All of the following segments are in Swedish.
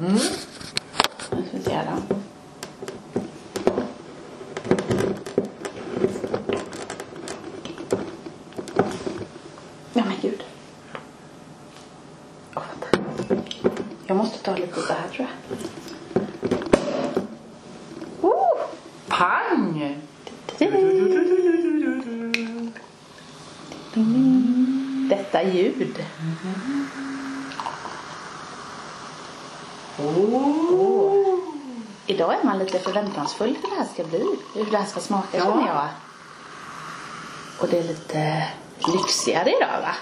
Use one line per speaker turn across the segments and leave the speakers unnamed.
Mm. Nu ska vi se här då. Ja men gud. Åh, vänta. Jag måste ta lite så här tror jag. Oh!
Pang!
Detta ljud.
Oh.
Idag är man lite förväntansfull för det här ska bli. Hur det här ska smaka
Ja.
känner jag. Och det är lite lyxigare idag va?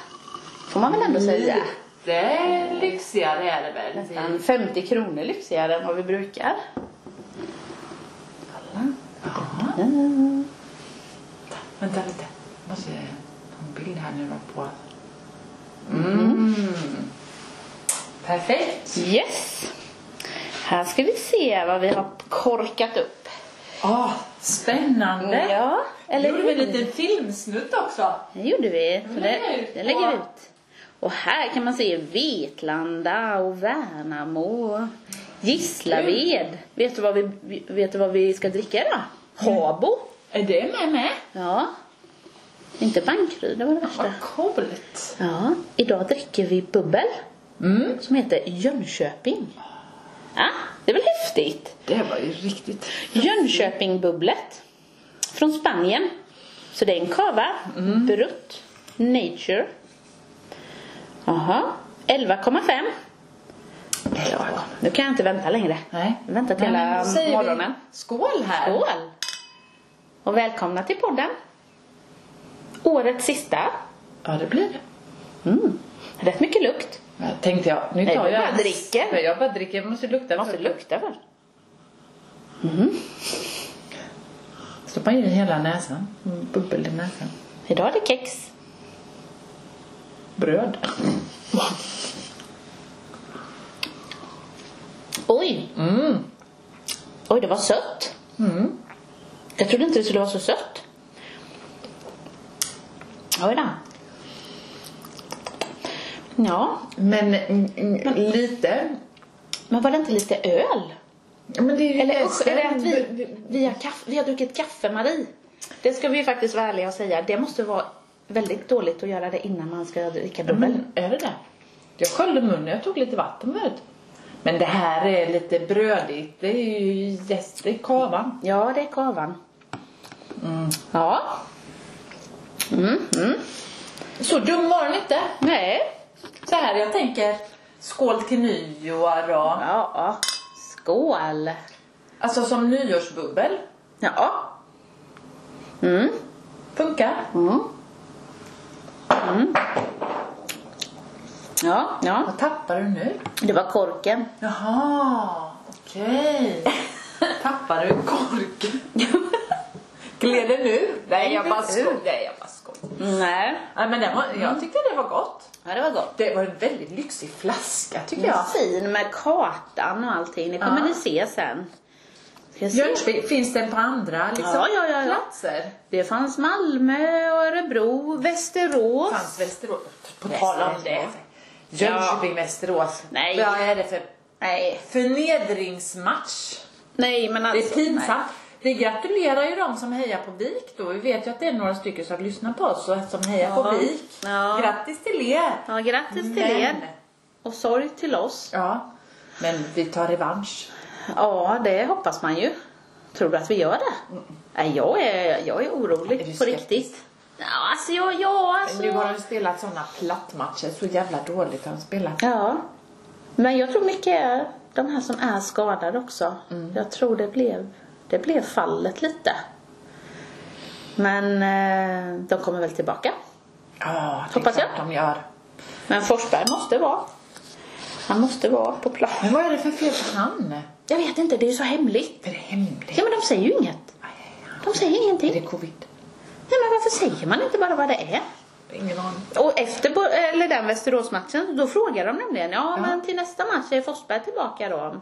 Får man väl ändå säga.
Mm. Lite lyxigare är det väl.
Nästan 50 kronor lyxigare än vad vi brukar. Kolla. Mm.
Vänta lite. Jag måste ta en bild här nu då på. Mm. Perfekt.
Yes! Här ska vi se vad vi har korkat upp.
Åh, Ah, spännande.
Ja, eller
Gjorde vi Mm.
hur?
en liten filmsnutt också.
Det gjorde vi. Så
Den
det,
lägger jag ut
det lägger vi
på-
ut. Och här kan man se Vetlanda och Värnamo och Gislaved. Vet du vad vi, vet du vad vi ska dricka idag?
Mm.
Habo.
Är det med med?
Ja. Inte bankryd, det var det värsta.
Vad coolt.
Ja, idag dricker vi bubbel
Mm.
som heter Jönköping. Ja, det är väl häftigt?
Det var ju riktigt.
Jönköpingbubblet från Spanien. Så det är en kava,
Mm.
Brut, Nature. Jaha, 11,5. Ja, nu kan jag inte vänta längre.
Nej.
Vänta till
Nej, men
hela
då säger vi
morgonen.
Skål här.
Skål! Och välkomna till podden. Årets sista.
Ja, det blir det.
Mm. Rätt mycket lukt.
Ja, tänkte jag. Nu
Nej,
tar
du
jag
bara
en-
dricker.
Nej, Jag bara dricker. Jag måste lukta.
Jag måste
först.
lukta först.
Stoppa in hela näsan. Mm, Bubbel i näsan.
Idag är det kex.
Bröd.
Oj!
Mm.
Oj, det var sött.
Mm.
Jag trodde inte det skulle vara så sött. Oj då. Ja,
Men, mm, mm, lite.
men var det inte lite öl?
Men det är ju
Eller usch,
nästan-
eller att vi, vi, har kaffe, vi har druckit kaffe, Marie. Det ska vi ju faktiskt vara ärliga och säga. Det måste vara väldigt dåligt att göra det innan man ska dricka bubbel.
Men är det det? Jag sköljde munnen. Jag tog lite vatten förut. Men det här är lite brödigt. Det är ju jäst i kavan.
Ja, det är kavan. Ja. Mm, mm.
Så dum var den inte.
Nej.
Så här, jag tänker. Skål till nyår och...
Ja. Skål.
Alltså som nyårsbubbel.
Ja. Mm.
Funkar.
Mm. Mm. Ja, ja.
Vad tappar du nu?
Det var korken.
Jaha, okej. Tappar du korken? Gled den nu? Nej, jag bara skojar. Nej, jag bara skojar.
Nej.
Nej, men den var, jag tyckte det var gott.
Ja, det var gott.
Det var en väldigt lyxig flaska tycker
Ja.
jag.
Fin med kartan och allting. Det kommer
Mm. Ja.
ni se sen. Ska jag se?
Jönköping, finns den på andra liksom,
Ja, ja, ja, ja.
platser?
Det fanns Malmö och Örebro, Västerås.
Fanns Västerås? På tal om det.
Västerås.
Jönköping, Västerås.
Nej.
Vad är det för
Nej.
förnedringsmatch?
Nej, men
Det
alltså.
är pinsamt. Vi gratulerar ju de som hejar på BIK då. Vi vet ju att det är några stycken som lyssnar på oss och som hejar
Ja.
på BIK.
Ja.
Grattis till er!
Nej. Ja, grattis till
Men-
er. Och sorg till oss.
Ja, men vi tar revansch.
Ja, det hoppas man ju. Tror du att vi gör det? Nej, jag är, jag är orolig
Mm. Är du
på
skeptisk?
riktigt. Ja, alltså jag, ja, alltså.
Nu har de spelat sådana plattmatcher, så jävla dåligt har de spelat.
Ja. Men jag tror mycket är de här som är skadade också. Jag tror det blev, det blev fallet lite. Men eh, de kommer väl tillbaka.
Ja, det är
Hoppas jag.
klart de gör.
Men Forsberg måste vara. Han måste vara på plan.
Men vad är det för fel på han?
Jag vet inte, det är ju så hemligt.
Är det hemligt?
Ja men de säger ju inget. De säger ingenting.
Är det covid?
Nej men varför säger man inte bara vad det är?
Ingen aning.
Och efter bo- eller den Västeråsmatchen, då frågade de nämligen, ja, men till nästa match är Forsberg tillbaka då.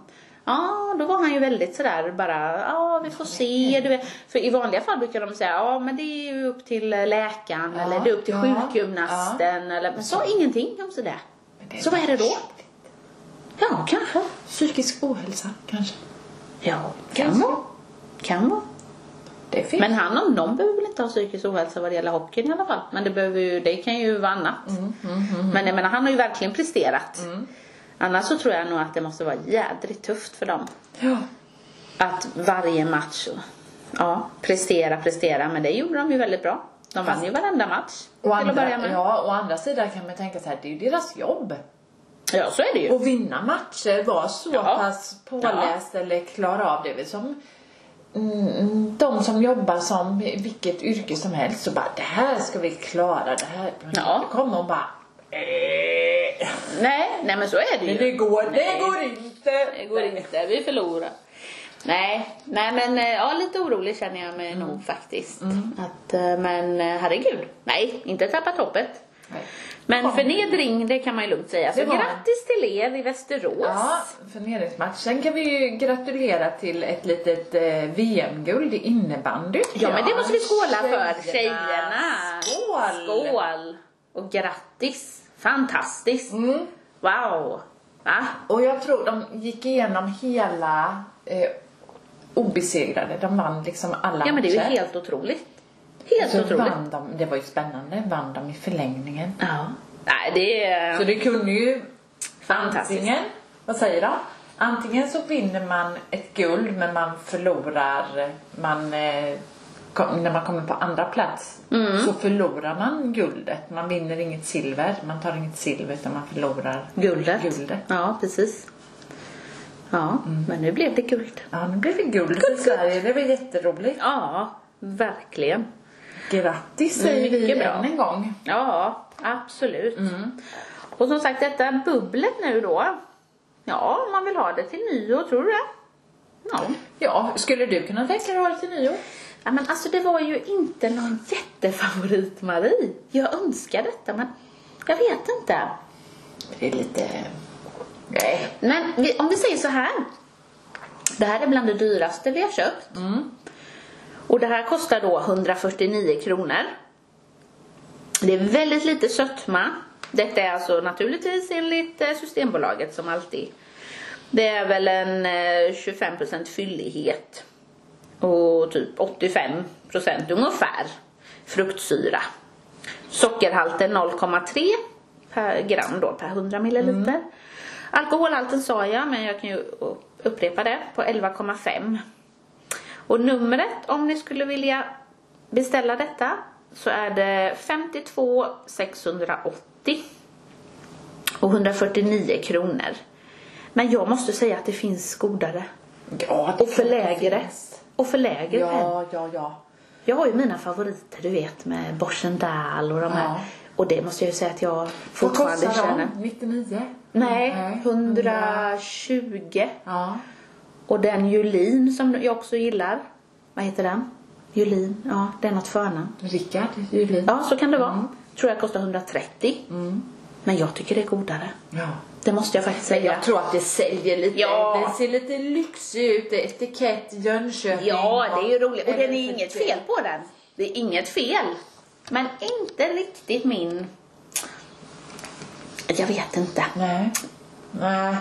Ja, då var han ju väldigt sådär bara, ja vi får
Mm.
se. Du vet. För i vanliga fall brukar de säga, ja men det är ju upp till eh, läkaren
Ja,
eller det är upp till
ja, Mm.
sjukgymnasten. Eller, men sa ingenväl ingenting om sådär.
Men det är
Så vad är det då?
märkligt.
Ja, kanske.
Psykisk ohälsa kanske.
Ja, kan vara. Kan vara.
Det finns.
Men han om någon behöver väl inte ha psykisk ohälsa vad det gäller hockeyn i alla fall. Men det, behöver ju, det kan ju vara annat.
Mm,
Men jag menar, han har ju verkligen presterat. Annars så tror jag nog att det måste vara jädrigt tufft för dem.
ja.
Att varje match, ja, prestera, prestera. Men det gjorde de ju väldigt bra. De vann ju varenda match
Å
till att börja
andra,
med.
ja, å andra sidan kan man tänka så här, det är ju deras jobb.
ja, så är det ju.
Och vinna matcher, vara så
Ja.
pass påläst eller klara av det. Det är som mm, de som jobbar som vilket yrke som helst så bara det här ska vi klara, det här. Men
Ja.
Det kommer och bara eh,
Nej, nej men så är det ju.
Men det går, det
Nej.
går inte.
Det går inte, vi förlorar. Nej, nej men eh, ja, lite orolig känner jag
Mm.
mig nog faktiskt. Att, eh, men eh, herregud, nej, inte tappat hoppet.
Nej.
Men
Ja.
förnedring, det kan man ju lugnt säga. Så
Det var det.
grattis till er i Västerås.
Ja, förnedringsmatch. Sen kan vi ju gratulera till ett litet eh, VM-guld i innebandy.
Ja, men det måste vi skåla för, tjejerna.
Skål!
Skål! Och grattis! Fantastiskt!
Mm.
Wow! Va?
Och jag tror de gick igenom hela eh, obesegrade. De vann liksom alla
Ja men det är ju
matcher.
helt otroligt. Helt
så
otroligt.
vann de, det var ju spännande, vann de i förlängningen.
Ja. Nej, det är...
Så det kunde ju
Fantastiskt.
antingen, vad säger de? Antingen så vinner man ett guld men man förlorar, man, eh, kom, när man kommer på andra plats
Mm.
så förlorar man guldet. Man vinner inget silver, man tar inget silver utan man förlorar
Guldet. Mm.
guldet.
Ja, precis. Ja, men nu blev det guld.
Ja, nu blev det guld i Sverige, det var jätteroligt.
Ja, verkligen.
Grattis säger vi
mycket bra.
än en gång.
Ja, absolut. Och som sagt, detta bubblet nu då. Ja, om man vill ha det till nyår, tror du det? Ja.
Ja, skulle du kunna tänka dig att ha det till nyår?
ja. men alltså det var ju inte någon jättefavorit, Marie. Jag önskar detta, men jag vet inte.
Det är lite... Nej.
Men vi, om vi säger så här. Det här är bland det dyraste vi har köpt. Och det här kostar då 149 kronor. Det är väldigt lite sötma. Detta är alltså naturligtvis enligt eh, Systembolaget som alltid. Det är väl en eh, 25% fyllighet. Och typ 85% ungefär fruktsyra. Sockerhalten 0,3 per gram då per 100 milliliter. Alkoholhalten sa jag, men jag kan ju upprepa det, på 11,5. Och numret om ni skulle vilja beställa detta så är det 52 680 och 149 kronor. Men jag måste säga att det finns godare
Ja, det
och för lägre.
finns.
Och för lägre.
Ja, ja, ja.
Jag har ju mina favoriter, du vet, med Borsendal och de här.
Ja.
Och det måste jag ju säga att jag
Vad
fortfarande
kostar
känner. Mm.
de? 99?
Nej,
Nej,
120.
Ja.
Och den Julin som jag också gillar. Vad heter den? Julin, ja, det är något förnamn.
Rickard Julin.
Ja, så kan det vara. Tror jag kostar 130. Men jag tycker det är godare.
Ja.
Det måste jag faktiskt säga.
Jag tror att det säljer lite.
Ja.
Det ser lite lyxigt ut. Det är etikett, Jönköping.
Ja, det är ju roligt. Och det är
Eller
inget
lite-
fel på den. Det är inget fel. Men inte riktigt min... Jag vet inte.
Nej. Nej.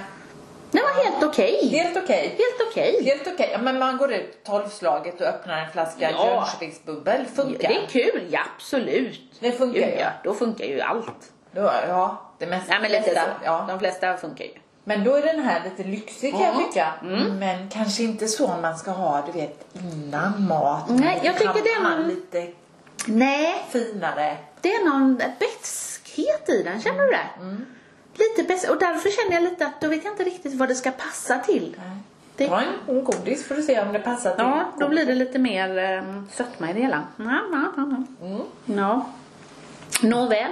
Den var helt okej.
Helt okej.
Helt okej.
Helt okej. Ja, men man går ut tolvslaget och öppnar en flaska
Ja.
Jönköpingsbubbel. Funkar.
Det är kul, ja absolut.
Det funkar
Gud,
ju.
ja. Då funkar ju allt.
Då, ja, det mesta.
Nej men lite
mesta,
så.
Ja.
De flesta funkar ju.
Men då är den här lite lyxig kan
Ja. Mm.
jag tycka. Men kanske inte så man ska ha, du vet, innan mat.
Nej, jag tycker det är
Champagne,
någon-
lite
Nej,
finare.
det är någon betskhet i den, känner du det?
Mm.
Lite bäst. Och därför känner jag lite att då vet jag inte riktigt vad det ska passa till. Mm. Det-
Ta en godis för att se om det passar till.
Ja, då blir det lite mer eh, sötma i det hela. Ja, ja, ja, ja.
Mm.
ja. Nåväl.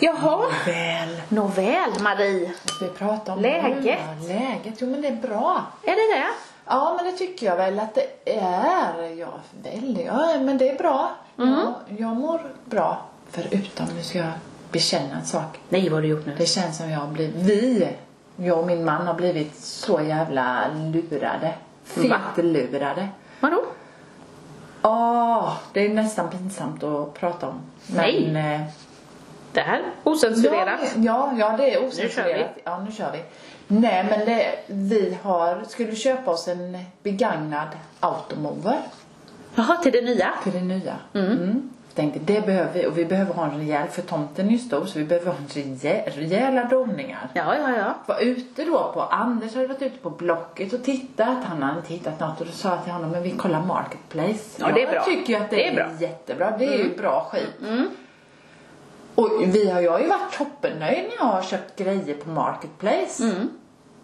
Jaha.
Väl.
Nåväl, Marie.
Vi pratar om
Läget.
nu, ja, läget. Jo men det är bra.
Är det det?
Ja men det tycker jag väl att det är. Ja, väl, ja men det är bra.
Mm.
Jag, jag mår bra. Förutom, nu ska jag bekänna en sak.
Nej, vad har du gjort nu?
Det känns som jag har blivit, vi, jag och min man har blivit så jävla lurade.
Mm. Va?
Fettlurade.
Vadå?
Åh, det är nästan pinsamt att prata om. Men
Nej.
eh,
Det här, osensurerat.
Ja, ja, ja, det är
Nu kör
osensurerat. Ja, nu kör vi. Nej, men det, vi har, skulle köpa oss en begagnad automover
Jaha, till det nya?
till det nya. Mm. Tänkte, det behöver vi och vi behöver ha en rejäl, för tomten är ju stor så vi behöver ha en rejäl, rejäla doningar.
Ja, ja, ja.
var ute då på, Anders hade varit ute på Blocket och tittat. Han hade inte hittat något och då sa jag till honom, men vi kollar Marketplace.
Ja, det är bra.
Jag tycker ju att det,
Det är
är,
bra. Mm.
jättebra. Det är ju bra skit. Och vi har, jag har ju varit toppennöjd när jag har köpt grejer på Marketplace.
Mm.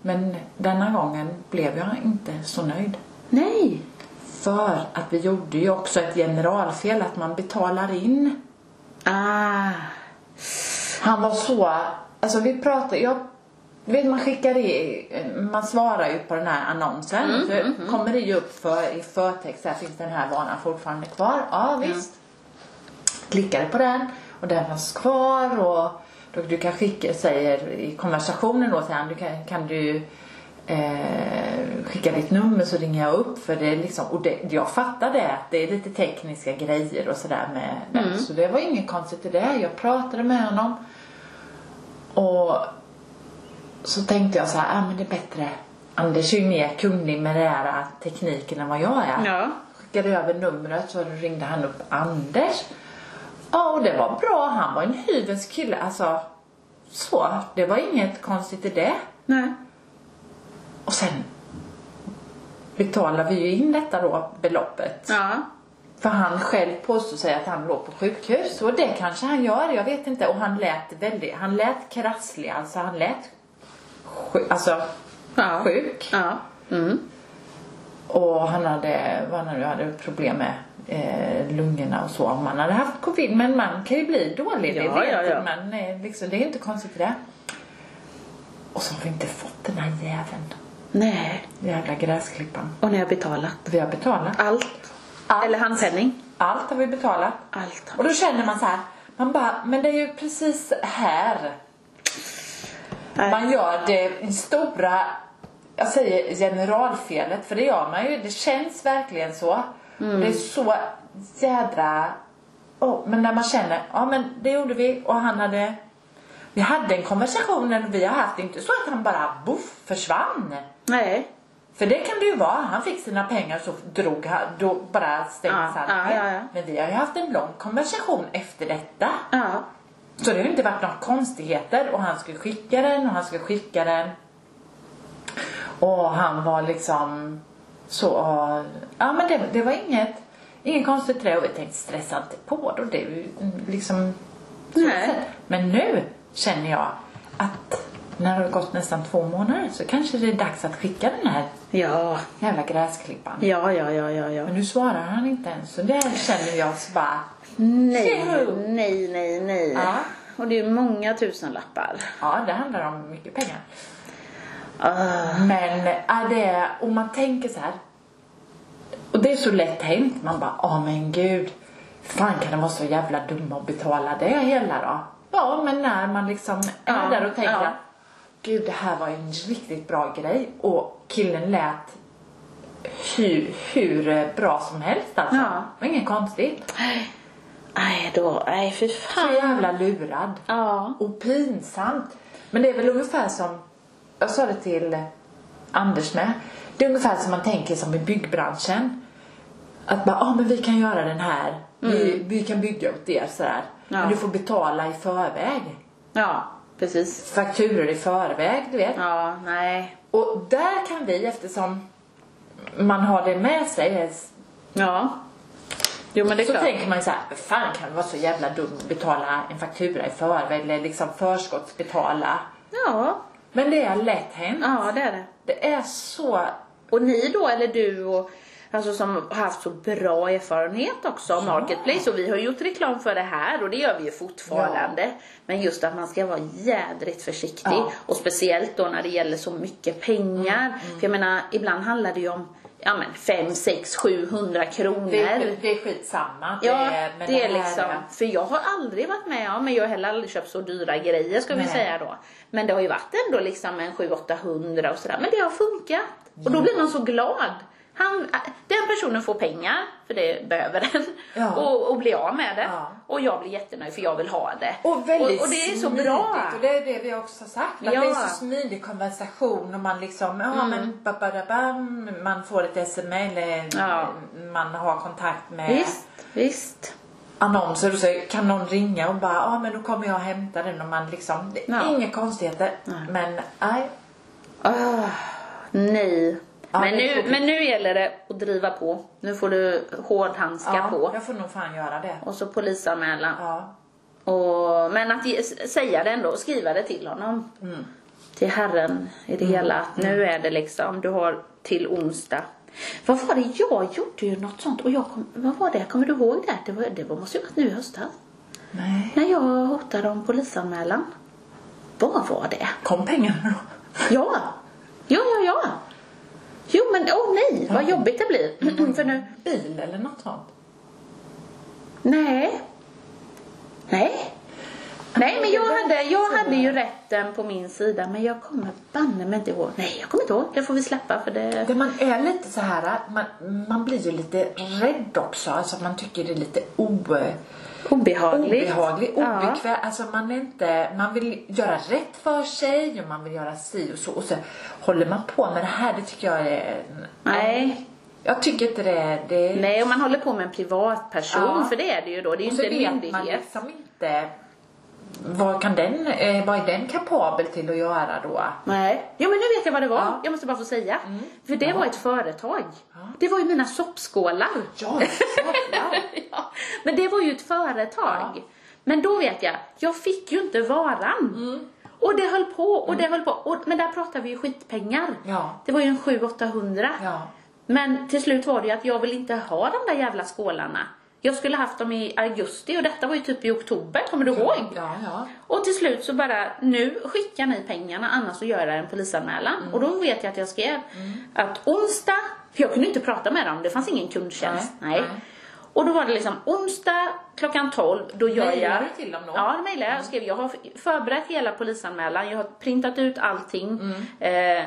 Men denna gången blev jag inte så nöjd.
Nej.
För att vi gjorde ju också ett generalfel att man betalar in
Ah.
Han var så, alltså vi pratade, jag vet man skickar i, man svarar ju på den här annonsen. så kommer det ju upp för, i förtext, här finns den här vanan fortfarande kvar? Ja visst. Klickade på den och den fanns kvar och då du kan skicka, säger i konversationen då sen, du kan, kan du eh, skicka ditt nummer så ringer jag upp för det är liksom, och det, jag fattar det att det är lite tekniska grejer och sådär med det. Så det var inget konstigt i det. Jag pratade med honom och så tänkte jag så här, ah, men det är bättre. Anders är ju mer kunnig med den här tekniken än vad jag är.
Ja.
Skickade över numret så ringde han upp Anders. Ja, och det var bra. Han var en hyvens kille. Alltså, så. Det var inget konstigt i det.
Nej.
Och sen betalar vi ju in detta då beloppet.
Ja.
För han själv påstår sig att han låg på sjukhus och det kanske han gör, jag vet inte. Och han lät väldigt, han lät krasslig, alltså han lät sjuk. Alltså,
Ja.
sjuk.
Ja. Mm.
Och han hade, vad han nu hade problem med eh, lungorna och så. Om han hade haft covid, men man kan ju bli dålig, det
Ja,
vet
ja, ja.
man. eh, Liksom, det är ju inte konstigt det. Och så har vi inte fått den här jäveln,
Nej.
jävla gräsklippan.
Och när jag betalat?
Vi har betalat.
Allt.
Allt.
Eller handpenning?
Allt har vi betalat.
Allt.
Och då känner man så här, man bara, men det är ju precis här.
Nej.
Man gör det stora, jag säger generalfelet, för det gör man ju. Det känns verkligen så.
Mm.
Och det är så jädra... Oh, men när man känner, ja men det gjorde vi och han hade... Vi hade en konversation när vi har haft, det är inte så att han bara boff försvann.
Nej.
För det kan det ju vara. Han fick sina pengar så drog han, då bara
Ja,
stängdes han
ja,
ner.
ja, ja.
Men vi har ju haft en lång konversation efter detta.
Ja.
Så det har ju inte varit några konstigheter och han skulle skicka den och han skulle skicka den. Och han var liksom så, ja men det, det var inget, inget konstigt det och vi tänkte stressa inte på då. Det är ju mm, liksom så
Nej.
sett. Men nu känner jag att när det har gått nästan två månader så kanske det är dags att skicka den här
Ja.
jävla gräsklippan.
Ja, ja, ja, ja, ja.
Men nu svarar han inte ens så det känner jag så bara,
Nej,
Tjoho!
nej, nej, nej.
Ja.
Och det är många tusenlappar.
ja det handlar om mycket pengar.
Ah.
Men är det, och man tänker så här. Och det är så lätt hänt. Man bara, ja men gud. Fan kan de vara så jävla dumma och betala det hela då? Ja men när man liksom är
Ja,
där och tänker
ja.
att gud det här var en riktigt bra grej och killen lät hur, hur bra som helst alltså.
Ja.
Det var inget konstigt.
Nej, då. Nej, fy
Så
fan.
jävla lurad.
Ja.
Och pinsamt. Men det är väl ungefär som, jag sa det till Anders med. Det är ungefär som man tänker som i byggbranschen. Att bara, ah, men vi kan göra den här. Vi, vi kan bygga åt er sådär.
Mm. Ja.
Men du får betala i förväg.
Ja, precis.
Fakturor i förväg, du vet.
Ja, nej.
Och där kan vi, eftersom man har det med sig.
Ja. Jo, men det är
så
klart.
tänker man ju såhär, fan kan det vara så jävla dumt att betala en faktura i förväg. Eller liksom förskottsbetala.
Ja,
Men det är lätt hänt.
ja, det är det.
Det är så...
Och ni då, eller du och Alltså som har haft så bra erfarenhet också av Marketplace och vi har gjort reklam för det här och det gör vi ju fortfarande. Men just att man ska vara jädrigt försiktig
Ja. Mm,
och speciellt då när det gäller så mycket pengar. För jag menar, ibland handlar det ju om ja men 5, 6, 700 kronor.
Det är, det är skitsamma.
Ja, det,
men
är
eh, här eh,
liksom, för jag har aldrig varit med om, men jag har heller aldrig köpt så dyra grejer ska vi
Nej.
säga då. Men det har ju varit ändå liksom en 700-800 och sådär, men det har funkat. Och då blir man så glad. Han, den personen får pengar, för det behöver den,
Ja.
och, och blir av med det.
Ja.
Och jag blir jättenöjd för jag vill ha det.
Och väldigt
och, och det är så
smidigt.
bra.
Och det är det vi också har sagt.
Ja.
Att
Mm.
det är så smidig konversation och man liksom, ja men babadabam, man får ett sms eller
Ja.
eh, man har kontakt med
Visst, visst.
annonser och så kan någon ringa och bara, ja men då kommer jag och hämta den och man liksom, det är
Ja.
inga konstigheter. Men nej,
Ah, nej.
Ja,
men,
det är
nu,
tråkigt.
men nu gäller det att driva på. Nu får du hårdhandska
ja,
på.
jag får nog fan göra det.
Och så polisanmäla.
Ja.
Och, men att ge, säga det ändå, skriva det till honom. Till Herren i det hela. Att nu är det liksom, du har till onsdag. Vad var det jag gjorde ju något sånt och jag kom, vad var det, kommer du ihåg det? Det, var, det var, måste ju varit nu i höstas.
Nej.
När jag hotade om polisanmälan. Vad var det?
Kom pengarna då?
Ja, ja, ja, ja. Jo men åh nej, vad jobbigt det blir. För nu,
Bil eller något sånt?
Nej. Nej. Nej, men jag hade, jag hade ju rätten på min sida, men jag kommer banne mig inte ihåg. Nej, jag kommer inte ihåg. Det får vi släppa för det...
Det man är lite så här, man, man blir ju lite rädd också. Alltså att man tycker det är lite o,
Obehagligt.
obehagligt,
Ja.
obekvämt. Alltså man är inte, man vill göra rätt för sig och man vill göra si och så. Och så håller man på med det här, det tycker jag är...
Nej.
Jag tycker inte det, det
Nej, om man håller på med en privatperson,
Ja.
för det är det ju då. Det är ju
Och så
inte en
vet man
myndighet.
liksom inte vad, kan den, eh, vad är den kapabel till att göra då?
Nej. Ja, men nu vet jag vad det var.
Ja. Mm.
Jag måste bara få säga. För det var ett företag. Det var ju mina soppskålar.
Ja, jävlar.
ja, men det var ju ett företag.
Ja.
Men då vet jag, jag fick ju inte varan.
Mm.
Och det höll på och det höll på. Och, men där pratade vi ju skitpengar.
Ja.
Det var ju en 700-800.
Ja.
Men till slut var det ju att jag vill inte ha de där jävla skålarna. Jag skulle haft dem i augusti och detta var ju typ i oktober, kommer du ihåg?
Ja, ja.
Och till slut så bara, nu skickar ni pengarna annars så gör jag en polisanmälan. Och då vet jag att jag skrev att onsdag, för jag kunde inte prata med dem, det fanns ingen kundtjänst.
Nej,
Nej.
nej.
Och då var det liksom onsdag klockan 12, då gör
Mejlar
jag...
du till dem då?
Ja, det mejlade jag. och skrev jag har förberett hela polisanmälan, jag har printat ut allting
Mm.
eh,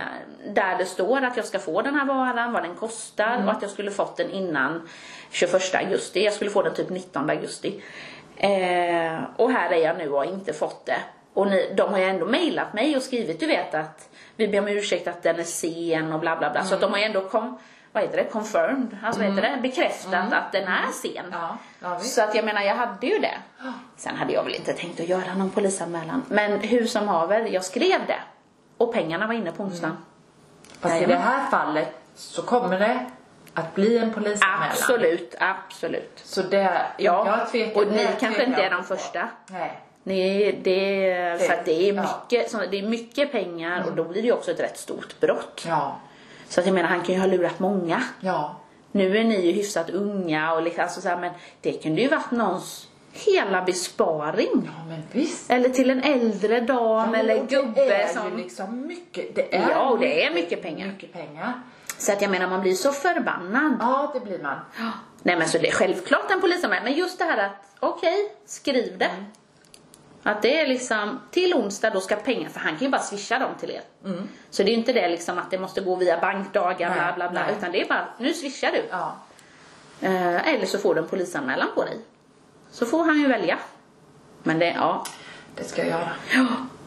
där det står att jag ska få den här varan, vad den kostar
Mm.
och att jag skulle fått den innan 21 augusti. Jag skulle få den typ 19 augusti. Eh, och här är jag nu och har inte fått det. Och ni, de har ju ändå mejlat mig och skrivit, du vet att vi ber om ursäkt att den är sen och bla bla bla. Så
Mm.
att de har ju ändå kom, vad heter det, confirmed, alltså vad heter det, bekräftat att den är sen.
Mm. Ja, ja, visst.
Så att jag menar, jag hade ju det. Sen hade jag väl inte tänkt att göra någon polisanmälan. Men hur som haver, jag skrev det. Och pengarna var inne på onsdagen.
Mm. Fast
Nej,
i det här fallet så kommer det att bli en polisanmälan.
Absolut, absolut.
Så det,
Ja,
jag tvekar,
och ni
jag
kanske
tvekar
inte är de
också.
första.
Nej.
Nej, det, för att det är
Ja. Mm.
mycket, så det är mycket pengar och då blir det ju också ett rätt stort brott.
Ja,
Så att jag menar, han kan ju ha lurat många.
ja.
Nu är ni ju hyfsat unga och liksom, alltså så här, men det kunde ju varit någons hela besparing.
Ja men visst.
Eller till en äldre dam eller
Och det
gubbe
är
som...
ju liksom mycket. Det är
Ja, och det är mycket pengar.
Mycket pengar.
Så att jag menar, man blir så förbannad.
Ja, det blir man.
Nej men så det är självklart en polisanmälan. Men just det här att, okej, skriv det.
Mm.
Att det är liksom, till onsdag då ska pengar, för han kan ju bara swisha dem till er. Så det är ju inte det liksom att det måste gå via bankdagar,
Mm. Nej,
bla bla bla.
nej.
Utan det är bara, nu swishar du.
Ja.
Eh, eller så får du en polisanmälan på dig. Så får han ju välja. Men det, ja.
Det ska jag göra.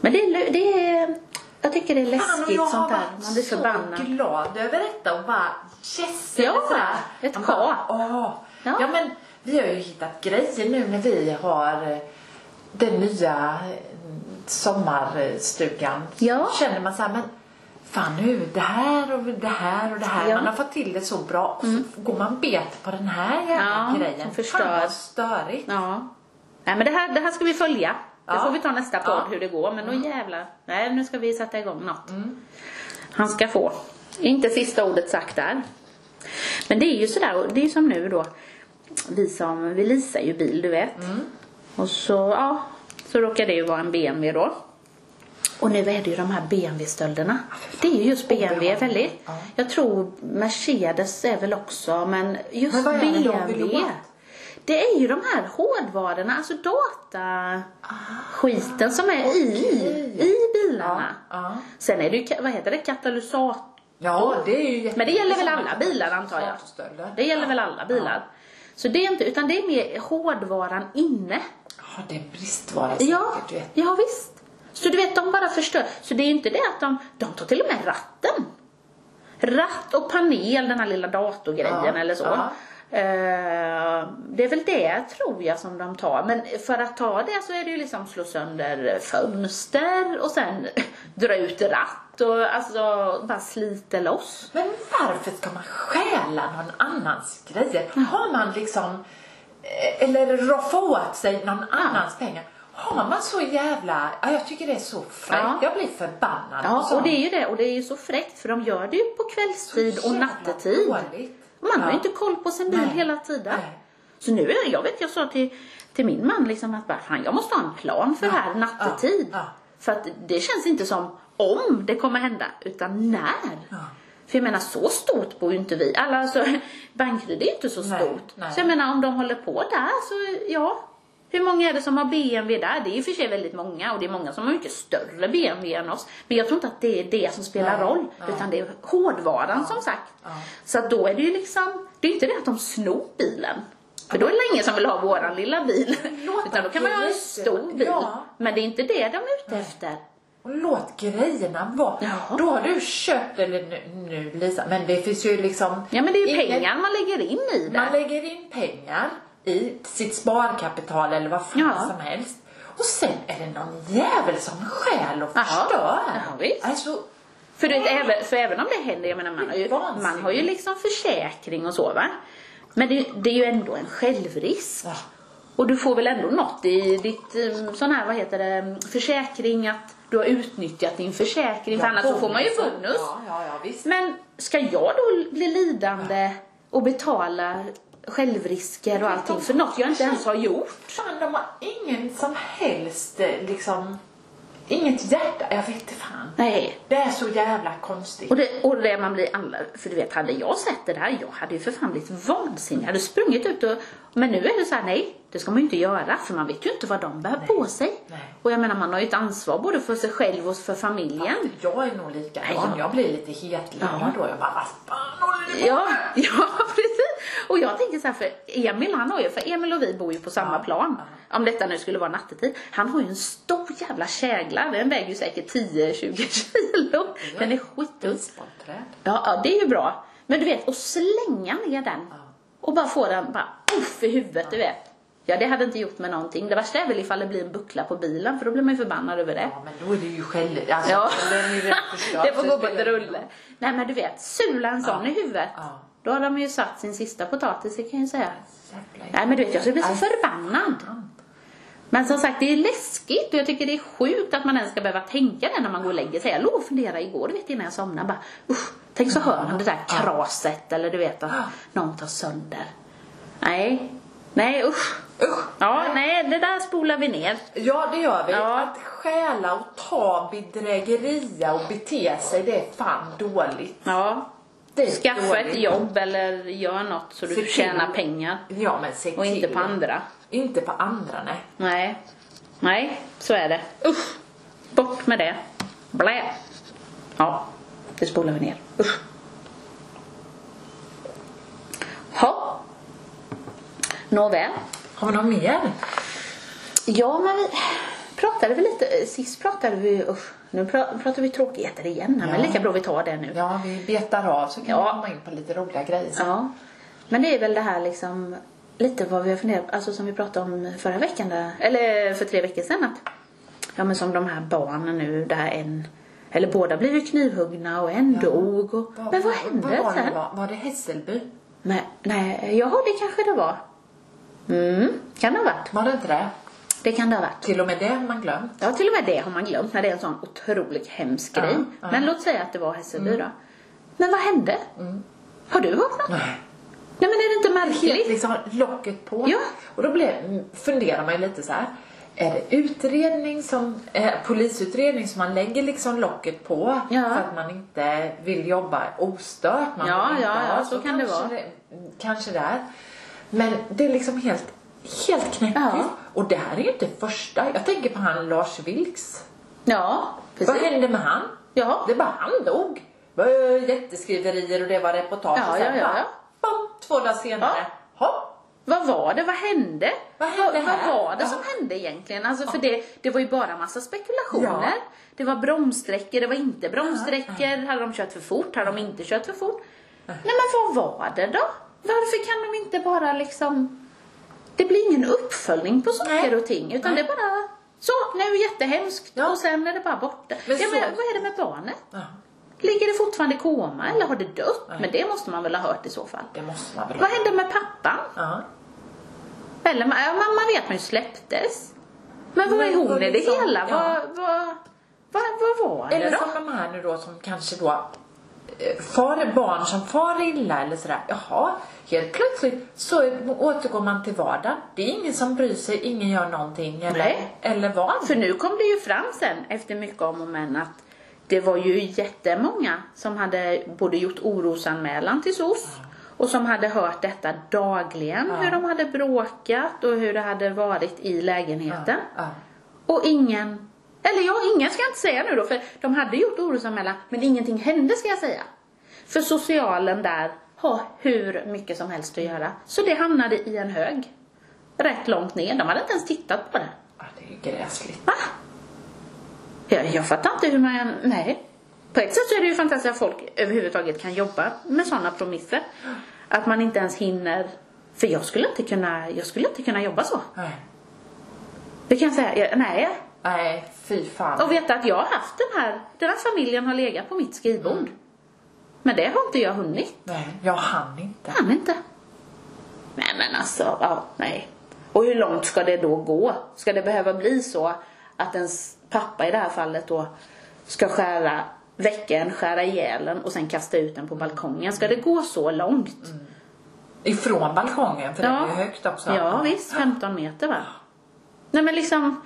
Men det, är lö- det är, jag tycker det är
Fan, och
läskigt
jag
sånt
har
där.
varit
Man blir förbannad.
så glad över detta och bara yes!
Ja,
eller sådär.
ett
Man
K.
bara, Åh. Ja.
Ja.
men vi har ju hittat grejer nu när vi har eh, den nya eh, sommarstugan.
Ja.
Känner man så här, men fan nu, det här och det här och det här.
Ja. Mm.
Man har fått till det så bra och så går man bet på den här jävla
Ja,
grejen.
som förstör.
Fan vad störigt.
Ja. Nej, men det här, det här ska vi följa. Det
Ja.
får vi ta nästa podd
Ja. Mm.
hur det går. Men då jävlar. Nej, nu ska vi sätta igång något. Han ska få. Inte sista ordet sagt där. Men det är ju sådär, och det är ju som nu då. Vi som, vi leasar ju bil du vet.
Mm.
Och så, ja. Så råkar det ju vara en BMW då. Och nu är det ju de här BMW-stölderna. Det är ju just BMW väldigt.
Ja.
Jag tror Mercedes är väl också, men just
Men vad är det de vill
BMW.
åt?
Det är ju de här hårdvarorna, alltså dataskiten som är i, i bilarna.
Ja, ja.
Sen är det ju, ka- vad heter det, katalysator?
Ja, det är ju jätte-
Men det gäller väl alla bilar, antar jag?
Fartstölder.
Det gäller väl alla bilar? Så det är inte, utan det är mer hårdvaran inne.
Ja, det är en bristvara
Ja,
säkert, du vet.
ja visst. Så du vet, de bara förstör. Så det är ju inte det att de, de tar till och med ratten. Ratt och panel, den här lilla datorgrejen
Ja,
eller så.
ja.
Eh, det är väl det tror jag som de tar. Men för att ta det så är det ju liksom slå sönder fönster och sen dra ut ratt och alltså bara slita loss.
Men varför ska man stjäla någon annans grejer? Har man liksom, eh, eller roffa åt sig någon annans pengar? Har man så jävla, ja, jag tycker det är så fräckt.
Ja.
Jag blir förbannad. på
Ja, och
sånt.
det är ju det. Och det är ju så fräckt för de gör det ju på kvällstid
Så
och
jävla
nattetid.
dåligt.
Och man har ju
Ja.
inte koll på sin bil
Nej.
hela tiden.
Nej.
Så nu, är- jag vet, jag sa till, till min man liksom att bara, fan, jag måste ha en plan för det här nattetid.
ja, ja.
För att det känns inte som om det kommer hända, utan när.
Ja.
För jag menar, så stort bor ju inte vi. Alla, alltså, Bankeryd är ju inte så
Nej,
stort.
nej.
Så jag menar, om de håller på där så, ja. Hur många är det som har BMW där? Det är i och för sig väldigt många och det är många som har mycket större BMW än oss. Men jag tror inte att det är det som spelar
Nej,
roll.
nej.
Utan det är hårdvaran som sagt.
Ja.
Så att då är det ju liksom, det är ju inte det att de snor bilen. För då är det ingen som vill ha våran lilla bil.
Låt
Utan då kan man ju ha en stor bil.
Ja.
Men det är inte det de är ute efter.
Och låt grejerna vara.
Ja.
Då har du köpt, eller nu, nu Lisa, men det finns ju liksom...
Ja men det är ju
inget-
pengar man lägger in i det.
Man lägger in pengar i sitt sparkapital eller vad fan
Ja.
som helst. Och sen är det någon jävel som stjäl och
Jaha.
förstör.
Ja, visst.
Alltså,
För, du vet, även, för även om det händer, jag menar man har ju,
Vansinnigt.
man har ju liksom försäkring och så va. Men det, det är ju ändå en självrisk.
ja.
Och du får väl ändå något i ditt eh, sån här, vad heter det, försäkring att du har utnyttjat din försäkring. För annars så får man ju bonus.
Ja, ja, ja visst.
Men ska jag då bli lidande och betala självrisker och allting för något jag inte ens har gjort?
Fan, de har ingen som helst eh, liksom... Inget hjärta. Jag vet inte fan.
Nej.
Det är så jävla konstigt.
Och det, och det man blir alla, för du vet hade jag sett det där, jag hade ju för fan blivit vansinnig. Jag hade sprungit ut och, men nu är det så här, nej, det ska man ju inte göra för man vet ju inte vad de bär på sig.
Nej.
Och jag menar man har ju ett ansvar både för sig själv och för familjen.
Jag är nog likadan.
Ja.
Jag blir lite hetlevrad då. Jag bara, vad fan håller ni på
Ja, ja precis. Och jag tänker så här för Emil han har ju, för Emil och vi bor ju på samma plan. Om detta nu skulle vara nattetid. Han har ju en stor jävla kägla, den väger ju säkert 10-20 kilo. Den är skittung.
Basebollträd.
Ja, ja, det är ju bra. Men du vet, att slänga ner den
Ja.
och bara få den bara uff i huvudet, du vet. Ja, det hade inte gjort med någonting. Det värsta är väl ifall det blir en buckla på bilen, för då blir man ju förbannad över det.
Ja, men då är det ju själv... Alltså,
Ja.
den är ju rätt förstörd,
det får
så
gå på
spelar
ett
det ingen
rulle. Nej men du vet, sula en sån i huvudet.
Ja.
Då har de ju satt sin sista potatis, det kan jag ju säga.
Jävla
Nej men du vet, jag skulle bli så
Aj.
förbannad. Men som sagt, det är läskigt och jag tycker det är sjukt att man ens ska behöva tänka det när man går och lägger sig. Jag låg och funderade igår, du vet innan jag somnade, bara usch, tänk så hör man det där kraset eller du vet att
Ja.
någon tar sönder. Nej, nej usch.
Usch!
Ja, nej, det där spolar vi ner.
Ja, det gör vi.
Ja.
Att stjäla och ta bedrägeria och bete sig, det är fan dåligt.
Ja,
Det är
Skaffa
dåligt.
ett jobb eller gör något så du
Se till.
tjänar pengar
Ja, men se
och inte
till.
på andra.
Inte på andra, nej.
Nej, nej, så är det. Usch, bort med det. Blä. Ja, det spolar vi ner. Usch. Ha. Nåväl.
Har vi någon mer?
Ja, men vi pratade väl lite, sist pratade vi, usch, nu pra- pratar vi tråkigheter igen här, men
Ja.
lika bra vi tar det nu.
Ja, vi betar av så kan
Ja.
vi komma in på lite roliga grejer. sen.
Ja. Men det är väl det här liksom lite vad vi har funderat alltså som vi pratade om förra veckan där, eller för tre veckor sedan att ja men som de här barnen nu där en eller båda blev ju knivhuggna och en dog och, men vad hände
vad var
sen?
Det var? var det Hässelby?
Men, nej, ja det kanske det var. Mm, kan det ha varit.
Var det inte det?
Det kan det ha varit.
Till och med det har man glömt.
Ja, till och med det har man glömt när det är en sån otroligt hemsk
Ja,
grej.
ja. Mm.
Men låt säga att det var Hässelby då. Men vad hände? Har du vaknat?
Nej.
Nej men är det inte
helt
märkligt?
liksom locket på.
Ja.
Och då blev, funderar man ju lite så här. Är det utredning som, eh, polisutredning som man lägger liksom locket på
Ja.
för att man inte vill jobba ostört? Man
Ja,
vill inte
ja,
ha,
ja, så kan det
kanske
vara.
kanske det är. Men det är liksom helt, helt knäppigt.
Ja.
Och det här är ju inte första. Jag tänker på han Lars Vilks.
Ja, precis.
Vad hände med han?
Ja.
Det är bara han dog. eh, jätteskriverier och det var reportage.
Ja,
och sen
ja, ja,
bara,
ja.
Bam, två dagar senare. Hopp.
Vad var det? Vad hände?
Vad hände här?
vad var det
Ja.
som hände egentligen? Alltså för det, det var ju bara massa spekulationer.
Ja.
Det var bromssträckor, det var inte bromssträckor. Hade de kört för fort? Hade de inte kört för fort? Nej men vad var det då? Varför kan de inte bara liksom... Det blir ingen uppföljning på saker
Nej.
och ting utan
Nej.
det är bara... Så, nu jättehemskt
Ja.
och sen är det bara borta.
Men
ja,
så-
men, vad är det med barnet?
Ja.
Ligger det fortfarande i koma eller har det dött?
Nej.
Men det måste man väl ha hört i så fall.
Det måste man väl
Vad hände med pappan?
Ja.
Eller man, ja, man, man vet man ju släpptes. Men vad
Men
är hon
vad
i det
liksom,
hela?
ja.
Vad, vad, vad, vad var det
Eller
då?
som de här nu då som kanske då eh, far, barn som far illa eller sådär. Jaha, helt plötsligt så återgår man till vardagen. Det är ingen som bryr sig, ingen gör någonting eller,
Nej.
eller vad.
För nu kom det ju fram sen efter mycket om och men att det var ju jättemånga som hade både gjort orosanmälan till SOS och som hade hört detta dagligen. Hur de hade bråkat och hur det hade varit i lägenheten.
Ja.
Och ingen, eller ja, ingen ska jag inte säga nu då, för de hade gjort orosanmälan, men ingenting hände ska jag säga. För socialen där har hur mycket som helst att göra. Så det hamnade i en hög. Rätt långt ner. De hade inte ens tittat på det.
Ja, det är ju gräsligt.
Va? Jag, jag fattar inte hur man... Nej. På ett sätt så är det ju fantastiskt att folk överhuvudtaget kan jobba med sådana promisser. Att man inte ens hinner... För jag skulle inte kunna, jag skulle inte kunna jobba så.
Nej.
Det kan jag säga. Jag, nej,
Nej, fy fan.
Och veta att jag har haft den här, den här familjen har legat på mitt skrivbord. Men det har inte jag hunnit.
Nej, jag hann inte.
Han inte. Nej men alltså, ja, nej. Och hur långt ska det då gå? Ska det behöva bli så att ens pappa i det här fallet då ska skära, väcka en, skära ihjäl en och sen kasta ut den på balkongen? Ska det gå så långt?
Ifrån balkongen, för det är ju högt också.
Ja visst, 15 meter va? Nej men liksom,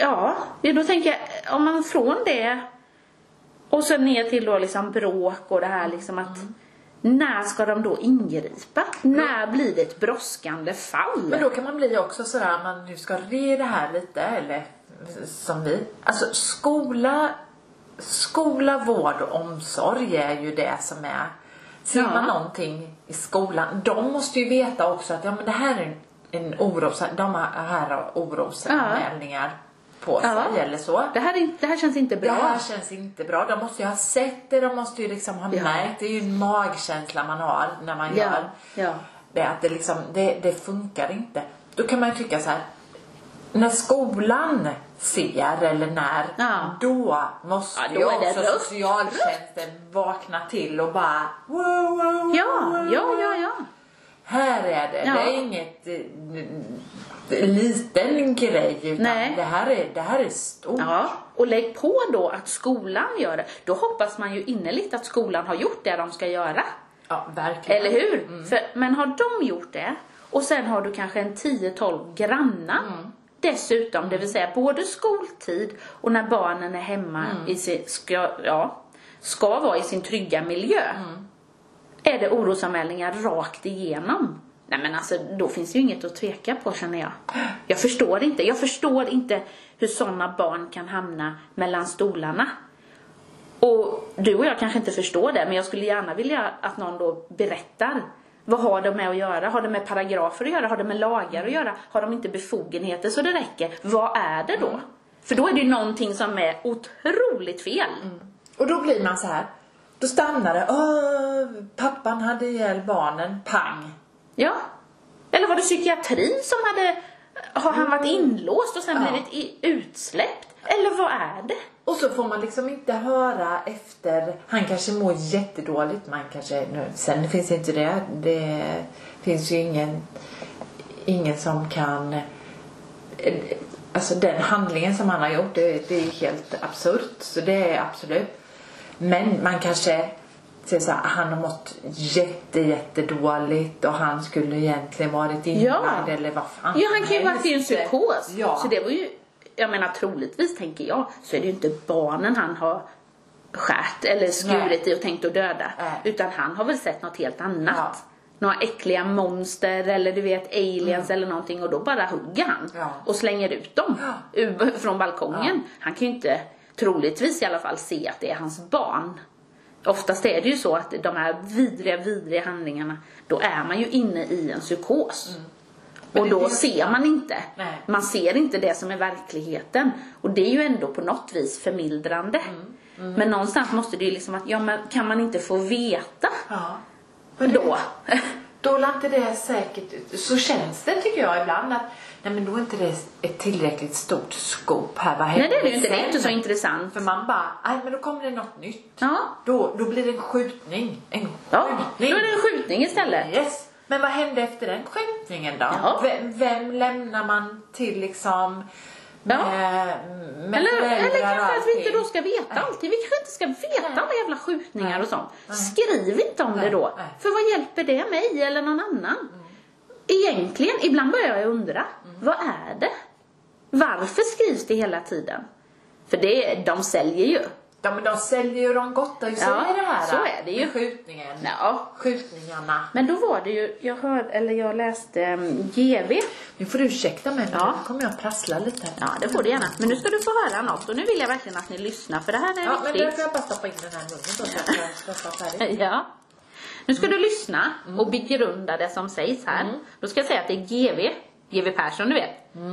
ja, ja, då tänker jag om man från det och sen ner till då liksom bråk och det här liksom att när ska de då ingripa? När blir det ett brådskande fall?
Men då kan man bli också sådär, om man nu ska re det här lite, eller som vi. Alltså skola, skola, vård och omsorg är ju det som är. Ser
Ja.
man någonting i skolan, de måste ju veta också att ja, men det här är en, en oros, de här har orosanmälningar på sig
Ja.
eller så.
det, här är, inte- det här känns inte
Det
bra.
här känns inte bra. De måste ju ha sett det, de måste ju liksom ha
Ja.
märkt. Det är ju en magkänsla man har när man
Ja,
gör
ja.
det. Att det, liksom, det, det funkar inte. Då kan man ju tycka så här. När skolan ser eller när,
Ja.
då måste
Ja, då
ju
är det
också
rött.
socialtjänsten vakna till och bara wow, wow, wow,
ja,
wow,
ja, ja, ja.
här är det.
Ja.
Det är inget eh, n- n- liten grej utan
Nej.
det här är, det här är stort.
Ja, och lägg på då att skolan gör det. Då hoppas man ju innerligt att skolan har gjort det de ska göra.
Ja, verkligen.
Eller hur? För, men har de gjort det och sen har du kanske en 10-12 grannar dessutom, det vill säga både skoltid och när barnen är hemma i sin, ska, ja, ska vara i sin trygga miljö. Är det orosanmälningar rakt igenom? Nej men alltså då finns ju inget att tveka på känner jag. Jag förstår inte, jag förstår inte hur sådana barn kan hamna mellan stolarna. Och du och jag kanske inte förstår det, men jag skulle gärna vilja att någon då berättar. Vad har de med att göra? Har det med paragrafer att göra? Har det med lagar att göra? Har de inte befogenheter så det räcker? Vad är det då? För då är det ju någonting som är otroligt fel.
Och då blir man så här. Då stannar det. Åh, pappan hade ihjäl barnen. Pang.
Ja. Eller var det psykiatrin som hade... Har han varit inlåst och sen
Ja.
blivit i, utsläppt? Eller vad är det?
Och så får man liksom inte höra efter. Han kanske mår jättedåligt. Man kanske, nu, sen finns inte det. Det finns ju ingen, ingen som kan... Alltså den handlingen som han har gjort, det, det är helt absurt. Så det är absolut. Men man kanske säger så här, han har mått jätte, jättedåligt och han skulle egentligen varit inlagd eller vad fan.
Ja, han kan ju
som
vara i en
helst.
psykos.
Ja.
Så det var ju, jag menar troligtvis tänker jag, så är det ju inte barnen han har skärt eller skurit i och tänkt att döda.
Nej.
Utan han har väl sett något helt annat.
Ja.
Några äckliga monster eller du vet aliens eller någonting och då bara hugger han
Mm. Ja.
och slänger ut dem ur, från balkongen. Han kan ju inte troligtvis i alla fall se att det är hans barn. Oftast är det ju så att de här vidriga, vidriga handlingarna, då är man ju inne i en psykos.
Men
Och
det är
då
det-
ser man inte.
Nej.
Man ser inte det som är verkligheten. Och det är ju ändå på något vis förmildrande.
Mm,
Men någonstans måste det ju liksom att, ja men kan man inte få veta
Ja.
då?
Då lär inte det säkert ut. Så känns det tycker jag ibland att nej men då är inte det ett tillräckligt stort skop här. Vad
Nej
händer
det är det ju inte, det är
sen?
inte så intressant.
För man bara, nej men då kommer det något nytt.
Ja,
Då, då blir det en skjutning. En
ja. då
skjutning.
är det en skjutning istället.
Yes. Men vad hände efter den skjutningen då?
Ja.
Vem, vem lämnar man till liksom med,
Ja.
med
Eller,
föräldrar
eller
och
kanske att vi inte
allting?
då ska veta allting. Vi kanske inte ska veta om jävla skjutningar
Nej.
och sånt. Skriv inte om det då.
Nej. Mm.
För vad hjälper det mig eller någon annan? Egentligen, ibland börjar jag undra. Vad är det? Varför skrivs det hela tiden? För det, de säljer ju.
Ja men de säljer ju de gotta, så
Ja,
är det här.
så
då.
är det ju.
Med skjutningen.
Ja.
Skjutningarna.
Men då var det ju, jag hörde, eller jag läste um, GV.
Nu får du ursäkta mig men
Ja.
nu kommer jag prassla lite.
Ja, det får du gärna. Men nu ska du få höra något och nu vill jag verkligen att ni lyssnar för det här är
Ja, men
viktigt.
då får jag bara stoppa in den här munnen då så att jag ska prata färdigt.
Ja. Nu ska du lyssna och begrunda det som sägs här. Då ska jag säga att det är GV, GV Persson du vet.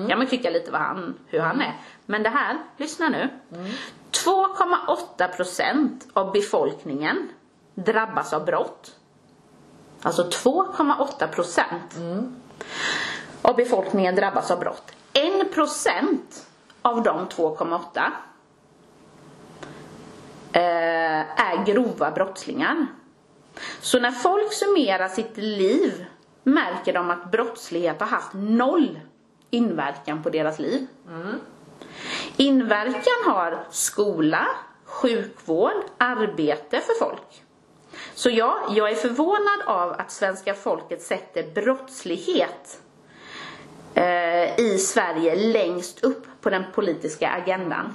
Ja men tycka lite vad han, hur han är. Men det här, lyssna nu. 2,8% av befolkningen drabbas av brott. Alltså 2,8% av befolkningen drabbas av brott. 1% av de 2,8 eh, är grova brottslingar. Så när folk summerar sitt liv märker de att brottslighet har haft noll inverkan på deras liv. Inverkan har skola, sjukvård, arbete för folk. Så ja, jag är förvånad av att svenska folket sätter brottslighet eh, i Sverige längst upp på den politiska agendan.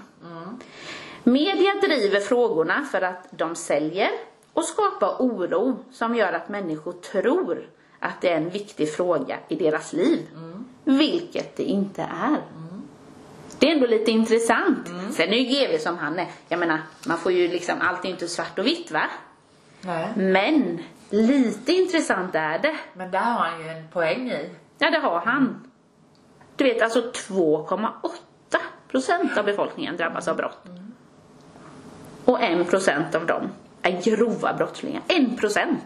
Media driver frågorna för att de säljer och skapar oro som gör att människor tror att det är en viktig fråga i deras liv. Vilket det inte är. Det är ändå lite intressant. Sen är ju GW som han är. Jag menar, man får ju liksom, allt är ju inte svart och vitt va?
Nej.
Men, lite intressant är det.
Men där har han ju en poäng i.
Ja, det har han. Du vet, alltså 2,8 procent av befolkningen drabbas av brott. Och 1 procent av dem är grova brottslingar. 1 procent!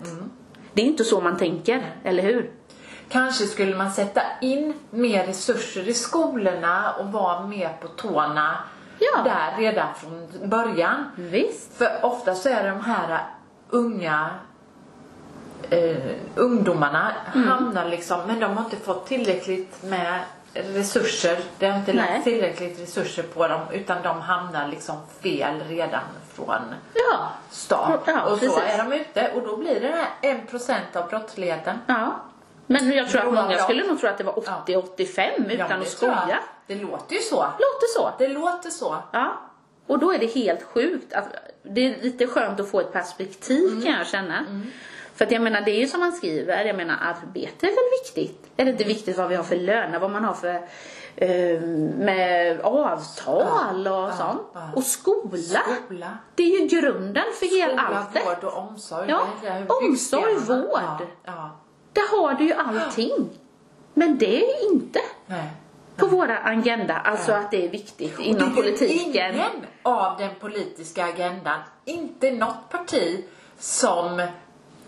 Det är inte så man tänker, eller hur?
Kanske skulle man sätta in mer resurser i skolorna och vara mer på tårna
Ja.
där redan från början.
Visst.
För ofta så är de här äh, unga eh, ungdomarna
Mm.
hamnar liksom, men de har inte fått tillräckligt med resurser. Det har inte
Nej.
lagt tillräckligt resurser på dem utan de hamnar liksom fel redan från
Ja.
start.
Ja,
och så
precis.
är de ute och då blir det den här 1% av brottsligheten.
ja. Men jag tror att
Grova
många
brott.
skulle nog tro att det var 80-85
Ja,
utan
men
att
det tror jag.
skoja.
Det låter ju så.
Låter så.
Det låter så.
Ja. Och då är det helt sjukt. Att det är lite skönt att få ett perspektiv kan
Mm.
jag känna. För att jag menar, det är ju som man skriver, jag menar arbete är väl viktigt? Är det inte viktigt vad vi har för löner, vad man har för eh, med avtal och sånt?
ja.
Och skola.
Skola.
Det är ju grunden för hela
Skola,
allt det.
vård och omsorg.
Ja,
Det är
omsorg,
byggstenarna.
vård.
Ja, ja.
Där har du ju allting. Men det är ju inte
Nej.
på våra agenda, alltså att det är viktigt
Och
inom
det är ju
politiken.
Ingen av den politiska agendan, inte något parti som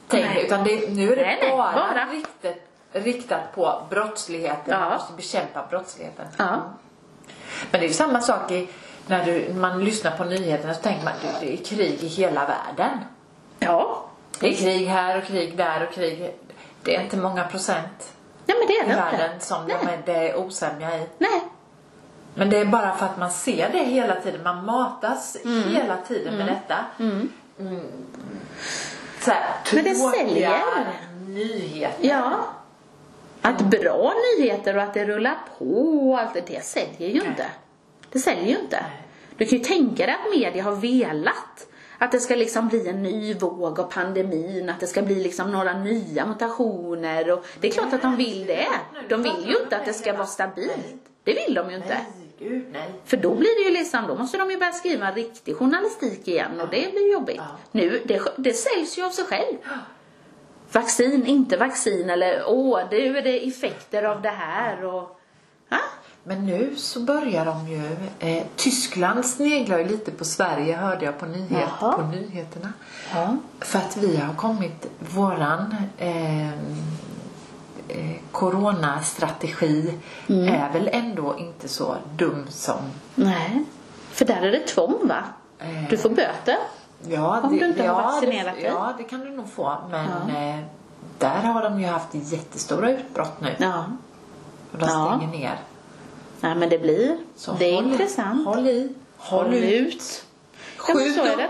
tänker,
Nej.
utan det, nu är det
Nej, nej,
bara,
bara.
Riktat, riktat på brottsligheten.
Ja.
Man måste bekämpa brottsligheten.
Ja.
Men det är ju samma sak i, när du, man lyssnar på nyheterna så tänker man du, det är krig i hela världen.
ja.
Det är krig här och krig där och krig. Det är inte många procent
Nej men det är
i
det
världen
inte.
som de
Nej.
är, det är osämja i.
Nej.
Men det är bara för att man ser det hela tiden. Man matas
Mm.
hela tiden med detta. Mm. Så här,
Men det
tråkiga
säljer.
nyheter.
Ja. Att bra nyheter och att det rullar på och allt det, det säljer ju inte. Det säljer ju inte. Du kan ju tänka dig att media har velat att det ska liksom bli en ny våg av pandemin, att det ska bli liksom några nya mutationer och det är klart att de vill det. De vill ju inte att det ska vara stabilt. Det vill de ju inte.
Nej, gud nej.
För då blir det ju liksom, då måste de ju börja skriva riktig journalistik igen och det blir jobbigt.
Ja.
Nu, det, det säljs ju av sig själv. Vaccin, inte vaccin eller åh, nu är det effekter av det här och... Ja,
Men nu så börjar de ju, eh, Tyskland sneglar ju lite på Sverige hörde jag på, nyhet,
Jaha.
på nyheterna.
ja.
För att vi har kommit, våran eh, eh, coronastrategi
Mm.
är väl ändå inte så dum som
nej. För där är det tvång va?
Eh.
Du får böter.
Ja,
Om du inte har vaccinerat
det,
dig.
Ja, det kan du nog få. Men eh, där har de ju haft jättestora utbrott nu.
Ja.
Och de
Ja.
stänger ner.
Nej men det blir.
Så
det är
håll,
intressant.
Håll i. Håll,
Håll
ut.
ut. Ja, men
Skjut
så är
upp.
det.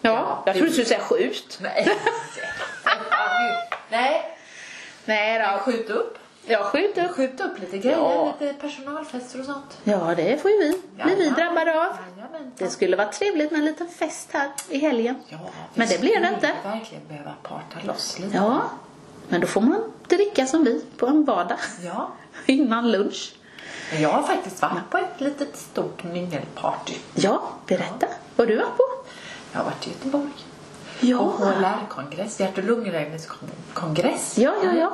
Ja,
Ja, jag
det-
trodde du skulle säga skjut.
Nej. Nej.
Nej då.
Skjut upp.
Jag skjuter.
Skjut upp lite grejer.
Ja.
Lite personalfester och sånt.
Ja, det får ju vi. Blir vi
Jajamän.
drabbade av.
Jajamän.
Det skulle vara trevligt med en liten fest här i helgen.
Ja, vi
Men det blir det
skulle
inte.
verkligen behöva parta loss lite.
Ja, men då får man dricka som vi på en vardag
Ja.
innan lunch.
Men Jag har faktiskt varit på ett litet stort mingelparty.
Ja, berätta. Vad du var på?
Jag har varit i Göteborg. Och
Ja,
HLR-kongress, hjärt och lungräddningskongress.
ja, ja. ja.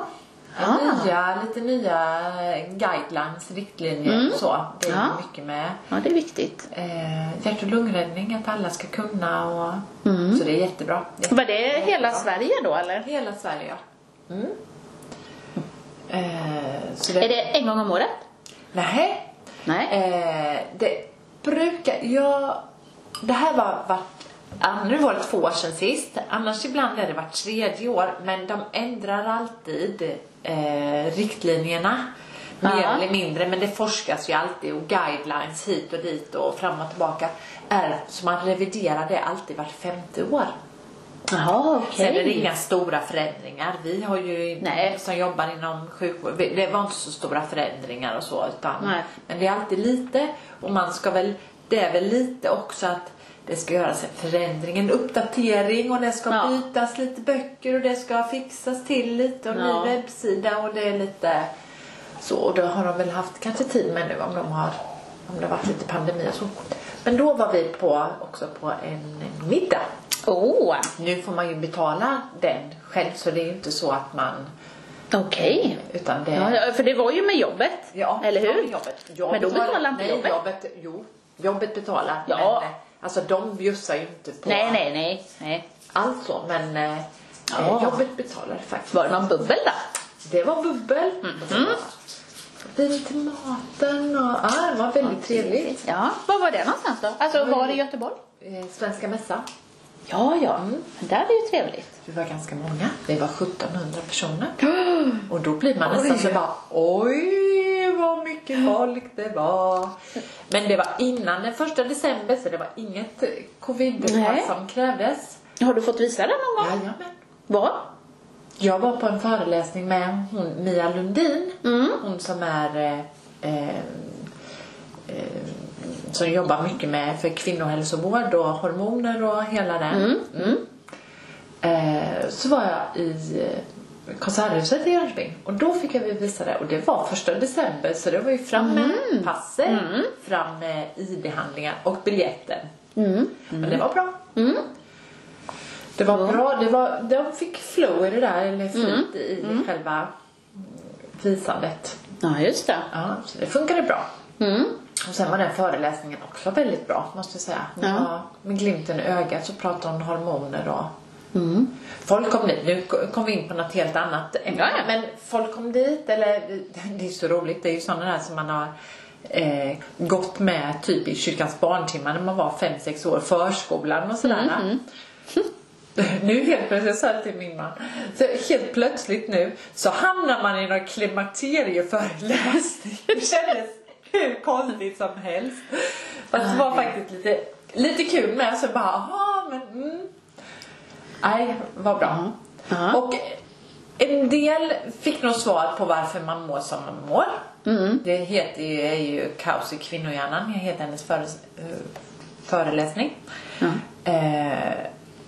Ah.
Nya, lite nya guidelines, riktlinjer och så. Det är
Mm. Ja.
mycket med
Ja, det är viktigt.
eh, hjärt och lungräddning, att alla ska kunna och
Mm.
så det är jättebra. Det är
Var det hela Sverige då eller?
hela Sverige, ja. Mm. Eh, så det,
Är det en gång om året?
Nej.
Nej.
Eh, det brukar, jag, det här var vart, ah, nu var det två år sedan sist, annars ibland är det vart tredje år, men de ändrar alltid eh, riktlinjerna. Mer
Ja.
eller mindre, men det forskas ju alltid och guidelines hit och dit och fram och tillbaka. Är, så man reviderar det alltid vart femte år.
Jaha,
Sen är det
okej.
inga stora förändringar. Vi har ju
Nej.
som jobbar inom sjukvård, vi- det var inte så stora förändringar och så. Utan,
Nej.
Men det är alltid lite och man ska väl, det är väl lite också att det ska göras en förändring, en uppdatering och det ska
Ja.
bytas lite böcker och det ska fixas till lite och
Ja.
ny webbsida och det är lite så. Och då har de väl haft kanske tid med nu om de har om det har varit lite pandemi och så. Men då var vi på, också på en middag.
Åh,
Nu får man ju betala den själv så det är ju inte så att man
okej.
utan det
Ja, ja, för det var ju med jobbet, eller
ja,
hur?
Jobbet. Jag
Men då betalar inte
nej,
jobbet.
jobbet. Jo, jobbet betalar.
Ja.
Men, eh, alltså de bjussar ju inte på
Nej, nej, nej, nej.
allt så men eh, eh,
Ja.
jobbet betalar faktiskt.
Var det någon bubbel då?
Det var bubbel. Mm. Vin till maten och ja, det var väldigt trevligt.
Ja. Var var det någonstans då? Alltså var det i Göteborg?
Eh, Svenska mässan.
Ja, ja. Mm. Det där är ju trevligt.
Vi var ganska många. Vi var 1700 personer. Och då blir man nästan så bara oj vad mycket folk det var. Men det var innan den första december så det var inget covid
Nej.
som krävdes.
Har du fått visa den någon gång?
Jajamän.
Var?
Jag var på en föreläsning med hon, Mia Lundin. Hon som är eh, eh, eh, som jobbar mycket med för kvinnohälsovård och hormoner och hela det. Mm. Eh, så var jag i eh, Konserthuset i Jönköping och då fick jag visa det och det var första december så det var ju fram med passet, fram med ID-handlingar och biljetten. Men det var bra. Det var bra. Det var, de fick flow i det där, eller
Mm.
flyt i själva visandet.
Ja, just det.
Ja, så det funkade bra.
Mm.
Och sen var den föreläsningen också väldigt bra, måste jag säga. Hon
Ja.
var, med glimten i ögat så pratade hon om hormoner och Mm. Folk kom dit, nu kom vi in på något helt annat.
Ja, ja.
Men folk kom dit, eller det är så roligt, det är ju sådana där som man har eh, gått med typ i kyrkans barntimmar när man var 5-6 år, förskolan och sådär.
Mm-hmm.
Nu helt plötsligt, jag sa det till min man, så helt plötsligt nu så hamnar man i någon klimakterieföreläsning. Det kändes hur konstigt som helst. Fast det
Ah,
var faktiskt lite, lite kul med så bara, aha, men mm. Nej, vad bra.
Ja.
Och eh, en del fick nog svar på varför man mår som man mår.
Mm.
Det heter ju, är ju Kaos i kvinnohjärnan, jag heter hennes föres, eh, föreläsning. Eh,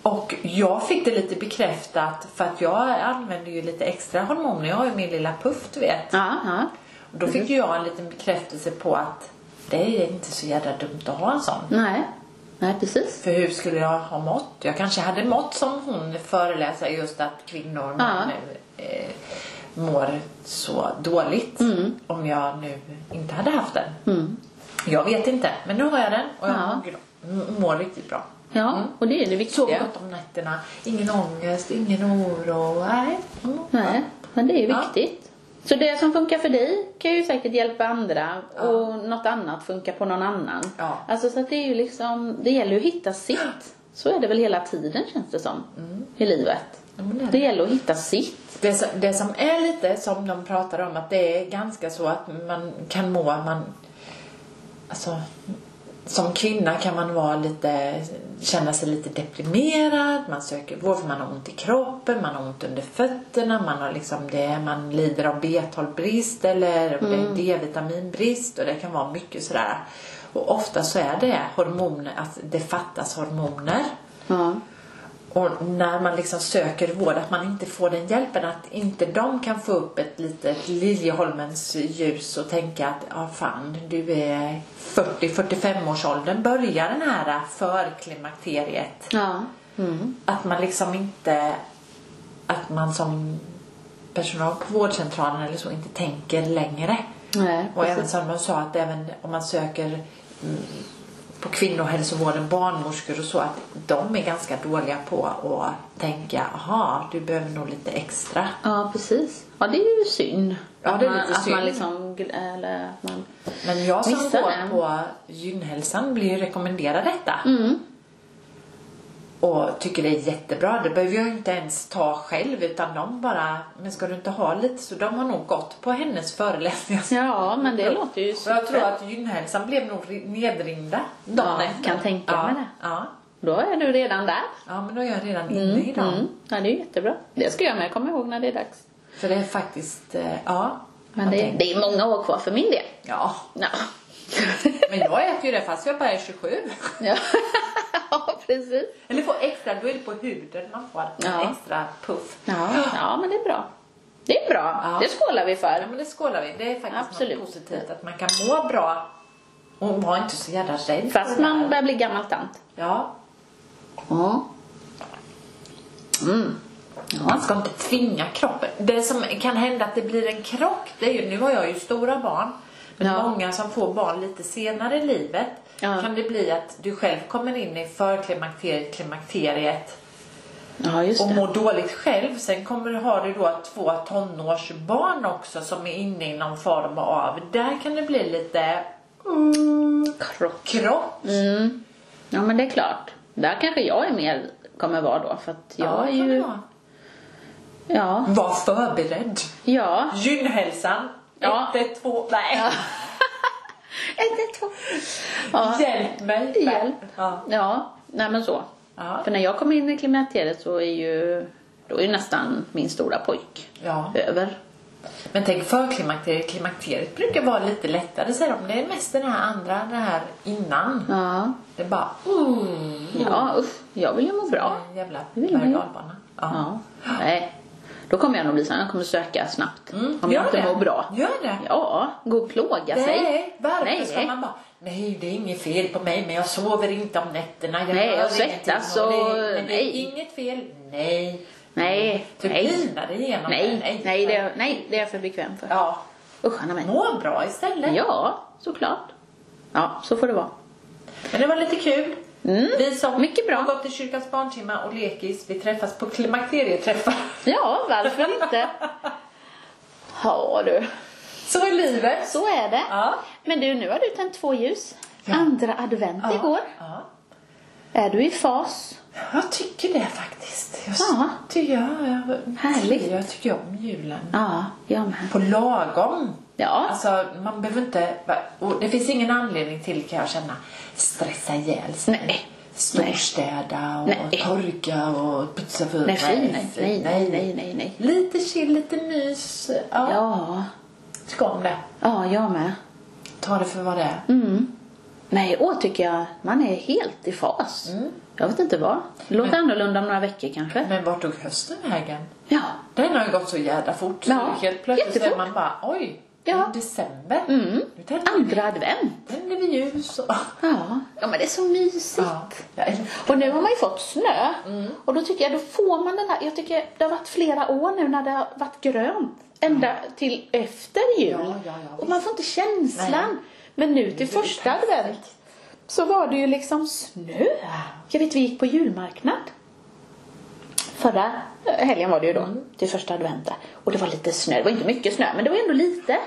och jag fick det lite bekräftat för att jag använder ju lite extra hormoner. Jag har ju min lilla puff, du vet.
Ja, ja.
Då fick ju jag en liten bekräftelse på att det är inte så jävla dumt att ha en sån.
Nej. Nej, precis.
För hur skulle jag ha mått? Jag kanske hade mått som hon föreläsare just att kvinnor
Ja.
nu, eh, mår så dåligt
Mm.
om jag nu inte hade haft den. Jag vet inte, men nu har jag den och jag
Ja.
mår gr- mår riktigt bra.
Ja, och det är det
Sov
viktiga.
gott om nätterna, ingen ångest, ingen oro. Nej. Mm.
Nej, men det är
Ja.
viktigt. Så det som funkar för dig kan ju säkert hjälpa andra och något annat funkar på någon annan.
Ja.
Alltså så att det är ju liksom, det gäller ju att hitta sitt. Så är det väl hela tiden känns det som i livet.
Ja, men det är
Mm. Det gäller att hitta sitt.
Det som, det som är lite som de pratar om att det är ganska så att man kan må att man alltså som kvinna kan man vara lite känna sig lite deprimerad man söker vård för man har ont i kroppen man har ont under fötterna man har liksom det man lider av B12-brist eller om det är D-vitaminbrist och det kan vara mycket sådär och ofta så är det hormoner att det fattas hormoner
Ja.
och när man liksom söker vård, att man inte får den hjälpen. Att inte de kan få upp ett litet Liljeholmens ljus och tänka att ja, fan, du är 40-45 års åldern. Börjar den här förklimakteriet.
Ja. Mm.
Att man liksom inte... Att man som personal på vårdcentralen eller så inte tänker längre.
Nej,
Och
precis.
även som de sa att även om man söker mm, på kvinnohälsovården, barnmorskor och så, att de är ganska dåliga på att tänka, aha, du behöver nog lite extra.
Ja, precis. Ja, det är ju synd.
Ja, det är lite
att man, Att man
synd.
liksom, gl- eller att man...
Men jag som
Missar
går
den.
på gynhälsan blir ju rekommenderad detta. Och tycker det är jättebra. Det behöver jag inte ens ta själv utan de bara, men ska du inte ha lite? Så de har nog gått på hennes föreläsningar.
Ja, men det låter ju
Och jag tror att gynhälsan blev nog ri- nedringda dagen
Ja,
efter.
kan tänka
ja,
mig det.
Ja.
Då är du redan där.
Ja, men då är jag redan inne i dem.
Mm. Ja, det är jättebra. Det ska jag med komma ihåg när det är dags.
För det är faktiskt, eh, ja.
Men
jag
det,
tänker-
det är många år kvar för min del.
Ja,
Ja,
men jag äter ju det fast jag bara är 27.
ja. ja precis.
Eller får extra, då är det på huden man får en
Ja.
extra puff.
Ja. ja, men det är bra. Det är bra.
Ja.
Det skålar vi
Ja,
för.
men det skålar vi. Det är faktiskt
Absolut.
något positivt att man kan må bra och vara inte så jävla rädd. för
Fast
det
man
där.
börjar bli gammal tant.
Ja.
Ja. Mm.
Man ska inte tvinga kroppen. Det som kan hända att det blir en krock, det är ju, nu har jag ju stora barn, men
Ja.
många som får barn lite senare i livet
Ja.
kan det bli att du själv kommer in i förklimakteriet, klimakteriet
Ja, just
och
det.
mår dåligt själv. Sen kommer du ha du då två tonårsbarn också som är inne i någon form av, där kan det bli lite mm,
Krock.
krock.
Mm. Ja, men det är klart. Där kanske jag är mer kommer vara då. För att jag
Ja,
är
kan det
ju...
vara.
Ja.
Var förberedd.
Ja.
Gynhälsan.
Ja.
Ett, ett, två, nej.
Ett, ett, två. Ja.
Hjälp mig.
Hjälp.
Ja.
Ja, nej men så.
Ja.
För när jag kom in i klimakteriet så är ju, då är ju nästan min stora pojk
Ja.
över.
Men tänk förklimakteriet. Klimakteriet brukar vara lite lättare säger de. Det är mest den här andra, det här innan.
Ja,
Det är bara mm,
ja usch, jag vill ju må bra.
en jävla
vill man ju.
berg och ja.
Ja, nej. Då kommer jag nog bli så här, jag kommer söka snabbt.
Mm,
Om
gör
jag inte
det.
mår bra.
Gör det.
Ja, gå och plåga sig.
Nej, varför
Nej.
ska man bara Nej, det är inget fel på mig men jag sover inte om nätterna. Jag
Nej, jag
gör ingenting
svettas
och
och-
det- Men det är
nej.
inget fel. Nej.
Nej,
Du
nej,
pinar dig igenom det.
nej, nej, det, är- nej, det är jag för bekväm för.
Ja.
Usch, Anna mig.
Må bra istället.
Ja, såklart. Ja, så får det vara.
Men det var lite kul. Vi som
Mm, mycket bra.
har gått i kyrkans barntimma och lekis, vi träffas på klimakterieträffar.
Ja, varför inte? Ja du,
Så är livet.
så är det.
Ja.
Men du, nu har du tänt två ljus. Andra advent igår.
Ja.
Är du i fas?
Jag tycker det faktiskt. Jag,
Ja.
tycker, jag, jag,
Härligt.
jag tycker om julen.
Ja, jag med.
På lagom.
Ja.
Alltså, man behöver inte... Och det finns ingen anledning till, kan jag känna, stressa ihjäl sig.
Nej.
Storstäda och
Nej.
torka och putsa för...
Nej, fy, nej, nej, nej, nej, nej, nej.
Lite chill, lite mys. Ja.
Ja,
Tycker om det.
ja, jag med.
Ta det för vad det är.
Mm. Nej, åh tycker jag man är helt i fas. Jag vet inte vad. Det låter annorlunda om några veckor kanske.
Men vart tog hösten vägen?
Ja,
Den har ju gått så jävla fort.
Ja,
så helt plötsligt så är
jättefort.
man bara, oj,
Ja.
I december.
Mm.
Nu tänder vi-
Andra advent.
tänder vi ljus och...
Ja. ja, men det är så mysigt. Mm.
Ja. Jag älskar
Och nu har man ju fått snö. Och då tycker jag, då får man den här, jag tycker det har varit flera år nu när det har varit grönt. Ända till efter jul.
Ja, ja, ja,
och man får inte känslan. Men nu till
Det är
första advent så var det ju liksom snö. Jag vet vi gick på julmarknad. Förra eh, helgen var det ju då, till första adventen. Och det var lite snö, det var inte mycket snö men det var ändå lite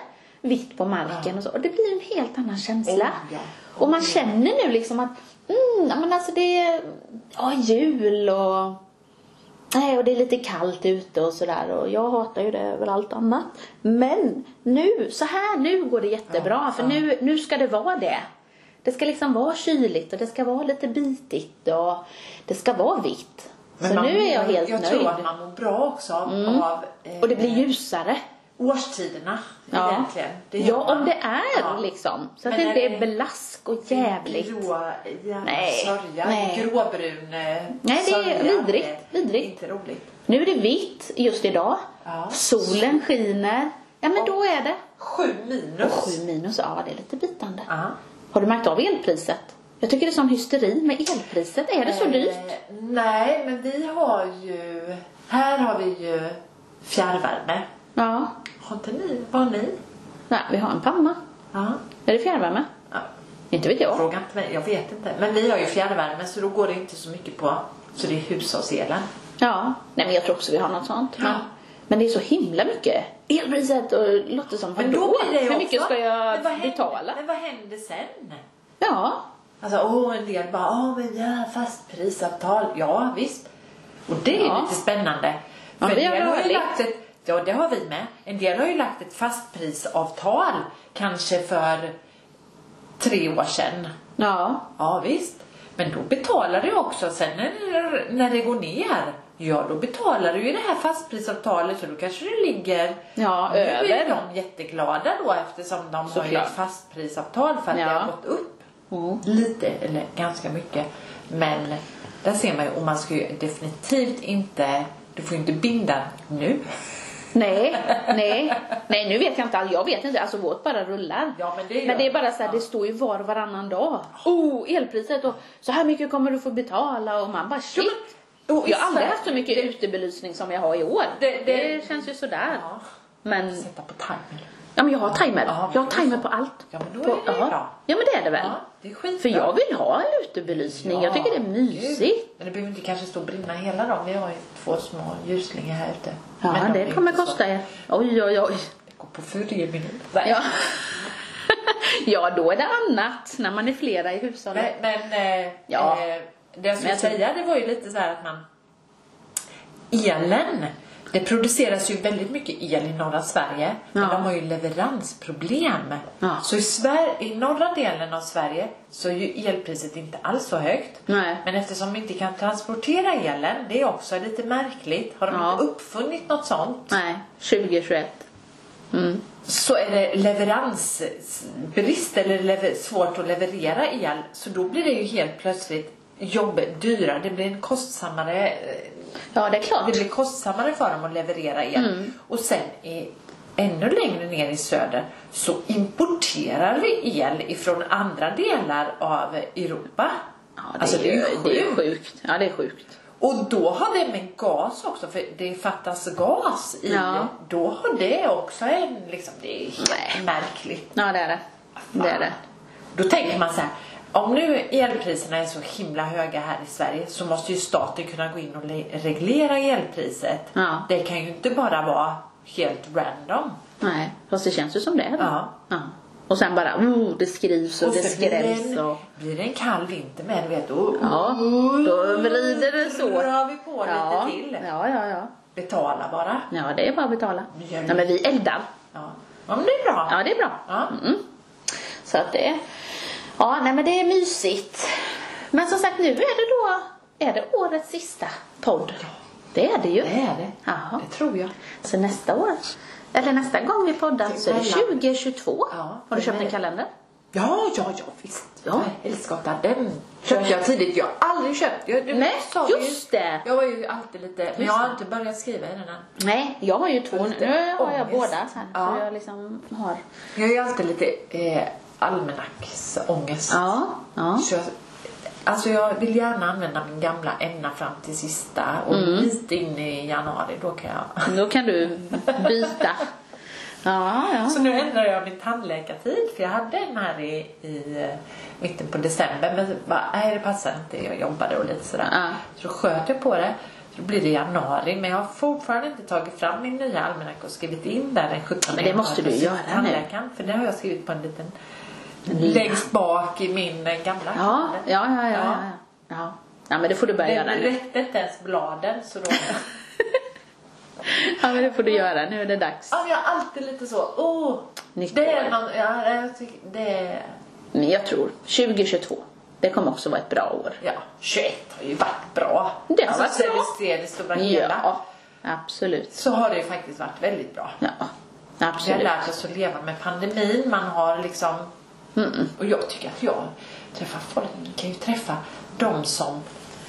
vitt på marken och så. Och det blir en helt annan känsla.
Oh, ja.
Och man känner nu liksom att, mm, ja, men alltså det är ja, jul och Nej, och det är lite kallt ute och sådär och jag hatar ju det över allt annat. Men nu, så här nu går det jättebra för nu, nu ska det vara det. Det ska liksom vara kyligt och det ska vara lite bitigt och det ska vara vitt.
Men
så
man-
nu är jag helt
jag
nöjd. Mm.
tror att man mår bra också av, av eh,
Och det blir ljusare.
årstiderna egentligen. Det gör
ja,
man.
om det är
Ja.
liksom. Så att
Men
det inte
är det-
är blask och jävligt.
Grå jävla
Nej,
sörja.
nej.
Gråbrun eh,
Nej, det är
sörja.
vidrigt,
Det är
vidrigt.
Inte roligt.
Nu är det vitt just idag.
Ja.
Solen skiner. Ja, men då är det.
Sju minus.
Sju minus, ja det är lite bitande.
Ja.
Har du märkt av elpriset? Jag tycker det är sån hysteri med elpriset. Är det så
Eh,
dyrt?
Nej, men vi har ju... Här har vi ju fjärrvärme.
Ja.
Har inte ni? Vad har ni?
Nej, vi har en panna.
Ja.
Är det fjärrvärme?
ja.
Inte vet jag.
Fråga inte mig, jag vet inte. Men vi har ju fjärrvärme så då går det inte så mycket på. Så det är hushållselen.
Ja. Nej, men jag tror också vi har något sånt. Men,
Ja.
men det är så himla mycket. Elpriset och det låter som
Men då
vadå?
blir det ju
Hur mycket
också-
ska
Men vad
jag
händer-
betala?
Men vad händer sen?
Ja.
Alltså, åh, en del bara, åh, men ja, fastprisavtal. Ja, visst. Och det är
Ja.
lite spännande.
Ja,
För
vi
en
har
del har ju
rörligt.
lagt ett, ja, det har vi med. En del har ju lagt ett fastprisavtal, kanske för tre år sedan.
Ja.
Ja, visst. Men då betalar du också. Sen när, när det går ner, ja, då betalar du ju det här fastprisavtalet. Så då kanske det ligger...
Ja,
nu
över.
är de jätteglada då eftersom de har ju
Såklart.
ett fastprisavtal för att
Ja. Mm.
det har gått upp. Lite, eller ganska mycket. Men där ser man ju, och man ska ju definitivt inte, du får ju inte binda nu.
Nej, nej, nej nu vet jag inte alls. Jag vet inte, alltså vårt bara rullar.
Ja, men det gör
är bara så här, det står ju var och varannan dag. Oh, elpriset och så här mycket kommer du få betala och man bara shit.
men- och i
jag har aldrig
Sverige-
haft så mycket utebelysning som jag har i år.
Det-
Det,
det-
känns ju sådär.
Ja.
Men,
Sätta på timer.
ja, men jag har timer.
Ja,
jag har
men-
timer på allt.
Ja, men då
på,
är det ju
ja.
bra.
Ja, men det är det väl.
Ja, det är skitbra.
För jag vill ha utebelysning. Jag tycker det är
Ja,
mysigt.
gud. Men det behöver inte kanske stå och brinna hela dagen. Vi har ju två små ljusslingor här ute.
Ja,
Men de är
det kommer
inte så-
kosta er. Oj, oj, oj.
Det går på fyra minuter.
Ja. ja, då är det annat när man är flera i hushållet.
Men, men eh,
Ja.
eh, det jag skulle
jag tror-
säga det var ju lite så här att man... Elen. Det produceras ju väldigt mycket el i norra Sverige. Men
Ja.
de har ju leveransproblem.
Ja.
Så i, Sver- i norra delen av Sverige så är ju elpriset inte alls så högt.
Nej.
Men eftersom vi inte kan transportera elen, det är också lite märkligt. Har de
Ja.
inte uppfunnit något sånt?
Nej, 2021. Mm.
så är det leveransbrist eller lever, svårt att leverera el så då blir det ju helt plötsligt jobb dyrare. Det blir en kostsammare eh,
Ja, det är klart.
det blir kostsammare för dem att leverera el.
Mm.
Och sen i, ännu längre ner i söder så importerar vi el ifrån andra delar av Europa.
Ja, det, alltså, det, är, ju- det är sjukt. Ja, det är sjukt.
Och då har det med gas också, för det fattas gas i.
Ja.
Då har det också en, liksom, det är helt
Nej.
märkligt.
Ja, det är det. Det är det.
Då tänker man så här. Om nu elpriserna är så himla höga här i Sverige så måste ju staten kunna gå in och le- reglera elpriset.
Ja.
Det kan ju inte bara vara helt random.
Nej, fast det känns ju som det. är det.
Ja.
ja. Och sen bara, oh, det skrivs och, det
så blir
skrälls.
det en,
Och...
blir det en kall vinter med, du vet, då,
Ja, då vrider det så.
drar vi på
ja.
lite till.
Ja, ja, ja.
Betala bara.
Ja, det är bara att betala.
Vi gör det.
Ja, men vi eldar.
Ja. ja, men det är bra.
Ja, det är bra.
Ja.
Mm. Så att det Ja, nej men det är mysigt. Men som sagt, nu är det då är det årets sista podd. Det är det ju.
Det är det.
Jaha.
Det tror jag.
Så nästa år, eller nästa gång vi poddar så är det
Mellan.
2022.
Ja,
Har du köpt
men-
en kalender? Ja, ja, ja visst. Ja.
Helskotta, den köpte jag tidigt. Jag har aldrig köpt. Jag, du
Nej,
sa
just
ju,
det.
Jag var ju alltid lite, men jag har inte börjat skriva i den än.
Nej, jag har ju två nu.
Lite
Nu har jag
ångest.
båda sen.
Ja.
Så jag liksom har...
Jag är ju alltid lite eh, almanacksångest.
Ja, ja.
Så jag, alltså jag vill gärna använda min gamla ämna fram till sista och lite in i januari, då kan jag.
Då kan du byta. Ja, ja.
Så nu ändrar jag min tandläkartid för jag hade en här i, i eh, mitten på december men bara, nej det passar inte, jag jobbade och lite sådär.
Ja.
Så då sköt jag på det. Så då blir det januari men jag har fortfarande inte tagit fram min nya almanacka och skrivit in där den 17
Men det måste du
januari
göra nu.
tandläkaren, För det har jag skrivit på en liten längst bak i min eh, gamla
Ja,
kalender.
ja, ja, ja. ja. ja. ja men det får du börja göra
Den
nu.
rätte inte ens bladen så då...
Ja, men det får du göra. Nu är det dags.
ja, men jag är alltid lite så, åh!
Nytt
det är
år.
någon, ja, jag tycker, det är...
Men jag tror 2022, det kommer också vara ett bra år.
Ja, 21 har ju varit bra.
Det har varit
Sen
bra.
vi ser det stora hela
Ja, absolut.
så har det ju faktiskt varit väldigt bra.
Ja,
Vi har
absolut.
lärt oss att leva med pandemin. Man har liksom...
Mm.
Och jag tycker att jag träffar folk. Man kan ju träffa de som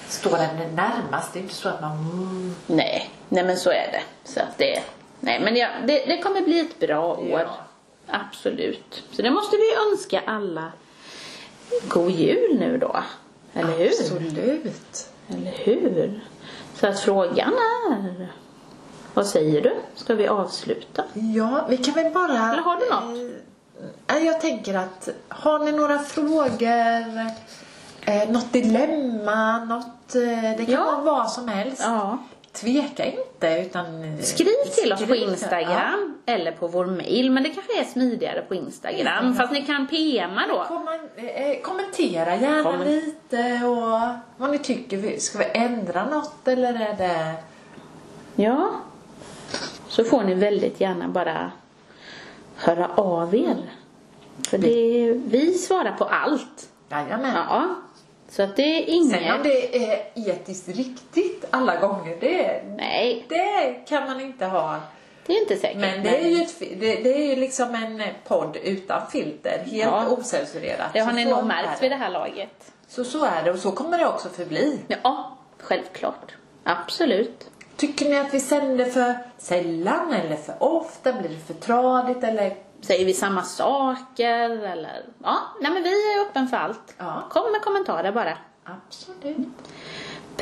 står en närmast. Det är inte så att man... Mm,
Nej, nej men så är det. Så att det, nej, men ja, det, det kommer bli ett bra år.
Ja.
Absolut. Så det måste vi önska alla god jul nu då. Eller hur?
Absolut.
Eller hur? Så att frågan är... Vad säger du? Ska vi avsluta?
Ja, vi kan väl bara...
Eller har du något?
Eh, jag tänker att har ni några frågor, eh, något dilemma, något, eh, det kan
Ja.
vara vad som helst.
Ja.
Tveka inte utan eh,
Skriv till oss på
skriv.
Instagram eller på vår mail. Men det kanske är smidigare på Instagram. Fast ni kan PMa då.
Ja. Får man, eh, kommentera gärna
Kommen-
lite och vad ni tycker. Vi- Ska vi ändra något eller är det...
Ja. Så får ni väldigt gärna bara höra av er. För det, vi svarar på allt.
Jajamän.
Ja. Så att det är
Sen om
inget...
det är etiskt riktigt alla gånger, det,
Nej,
det kan man inte ha.
det är inte säkert.
Men det är ju, ett, fi- det, det är ju liksom en podd utan filter, helt
Ja.
ocensurerat.
Det har
Så
ni
så är
nog märkt
det.
vid det här laget.
Så så är det och så kommer det också förbli.
Ja, självklart. Absolut.
Tycker ni att vi sänder för sällan eller för ofta? Blir det för tradigt eller?
Säger vi samma saker eller? Ja, nej men vi är öppen för allt.
Ja.
Kom med kommentarer bara.
Absolut.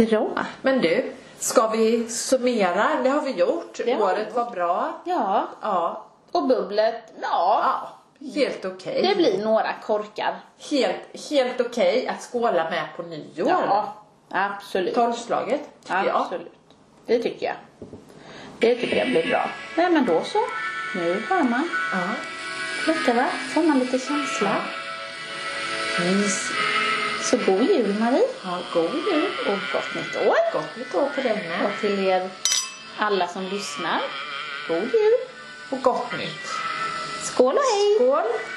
Bra.
Men du, ska vi summera? Det har vi gjort.
Det har vi
Året var bra.
Ja,
Ja,
och bubblet, ja,
ja helt okej.
det blir några korkar.
Helt, helt okej att skåla med på nyår.
Ja, absolut.
Tolvslaget tycker jag.
Absolut. Det tycker jag. Det tycker jag blir bra. Nej men då så. Nu hör man
Ja.
lite va? Får man lite känsla.
Mys.
Så god jul Marie Mm.
Ja, god jul.
och gott nytt år.
Gott nytt år på dig med.
Och till er alla som lyssnar, god jul!
Och gott nytt.
Skål och hej!
Skål.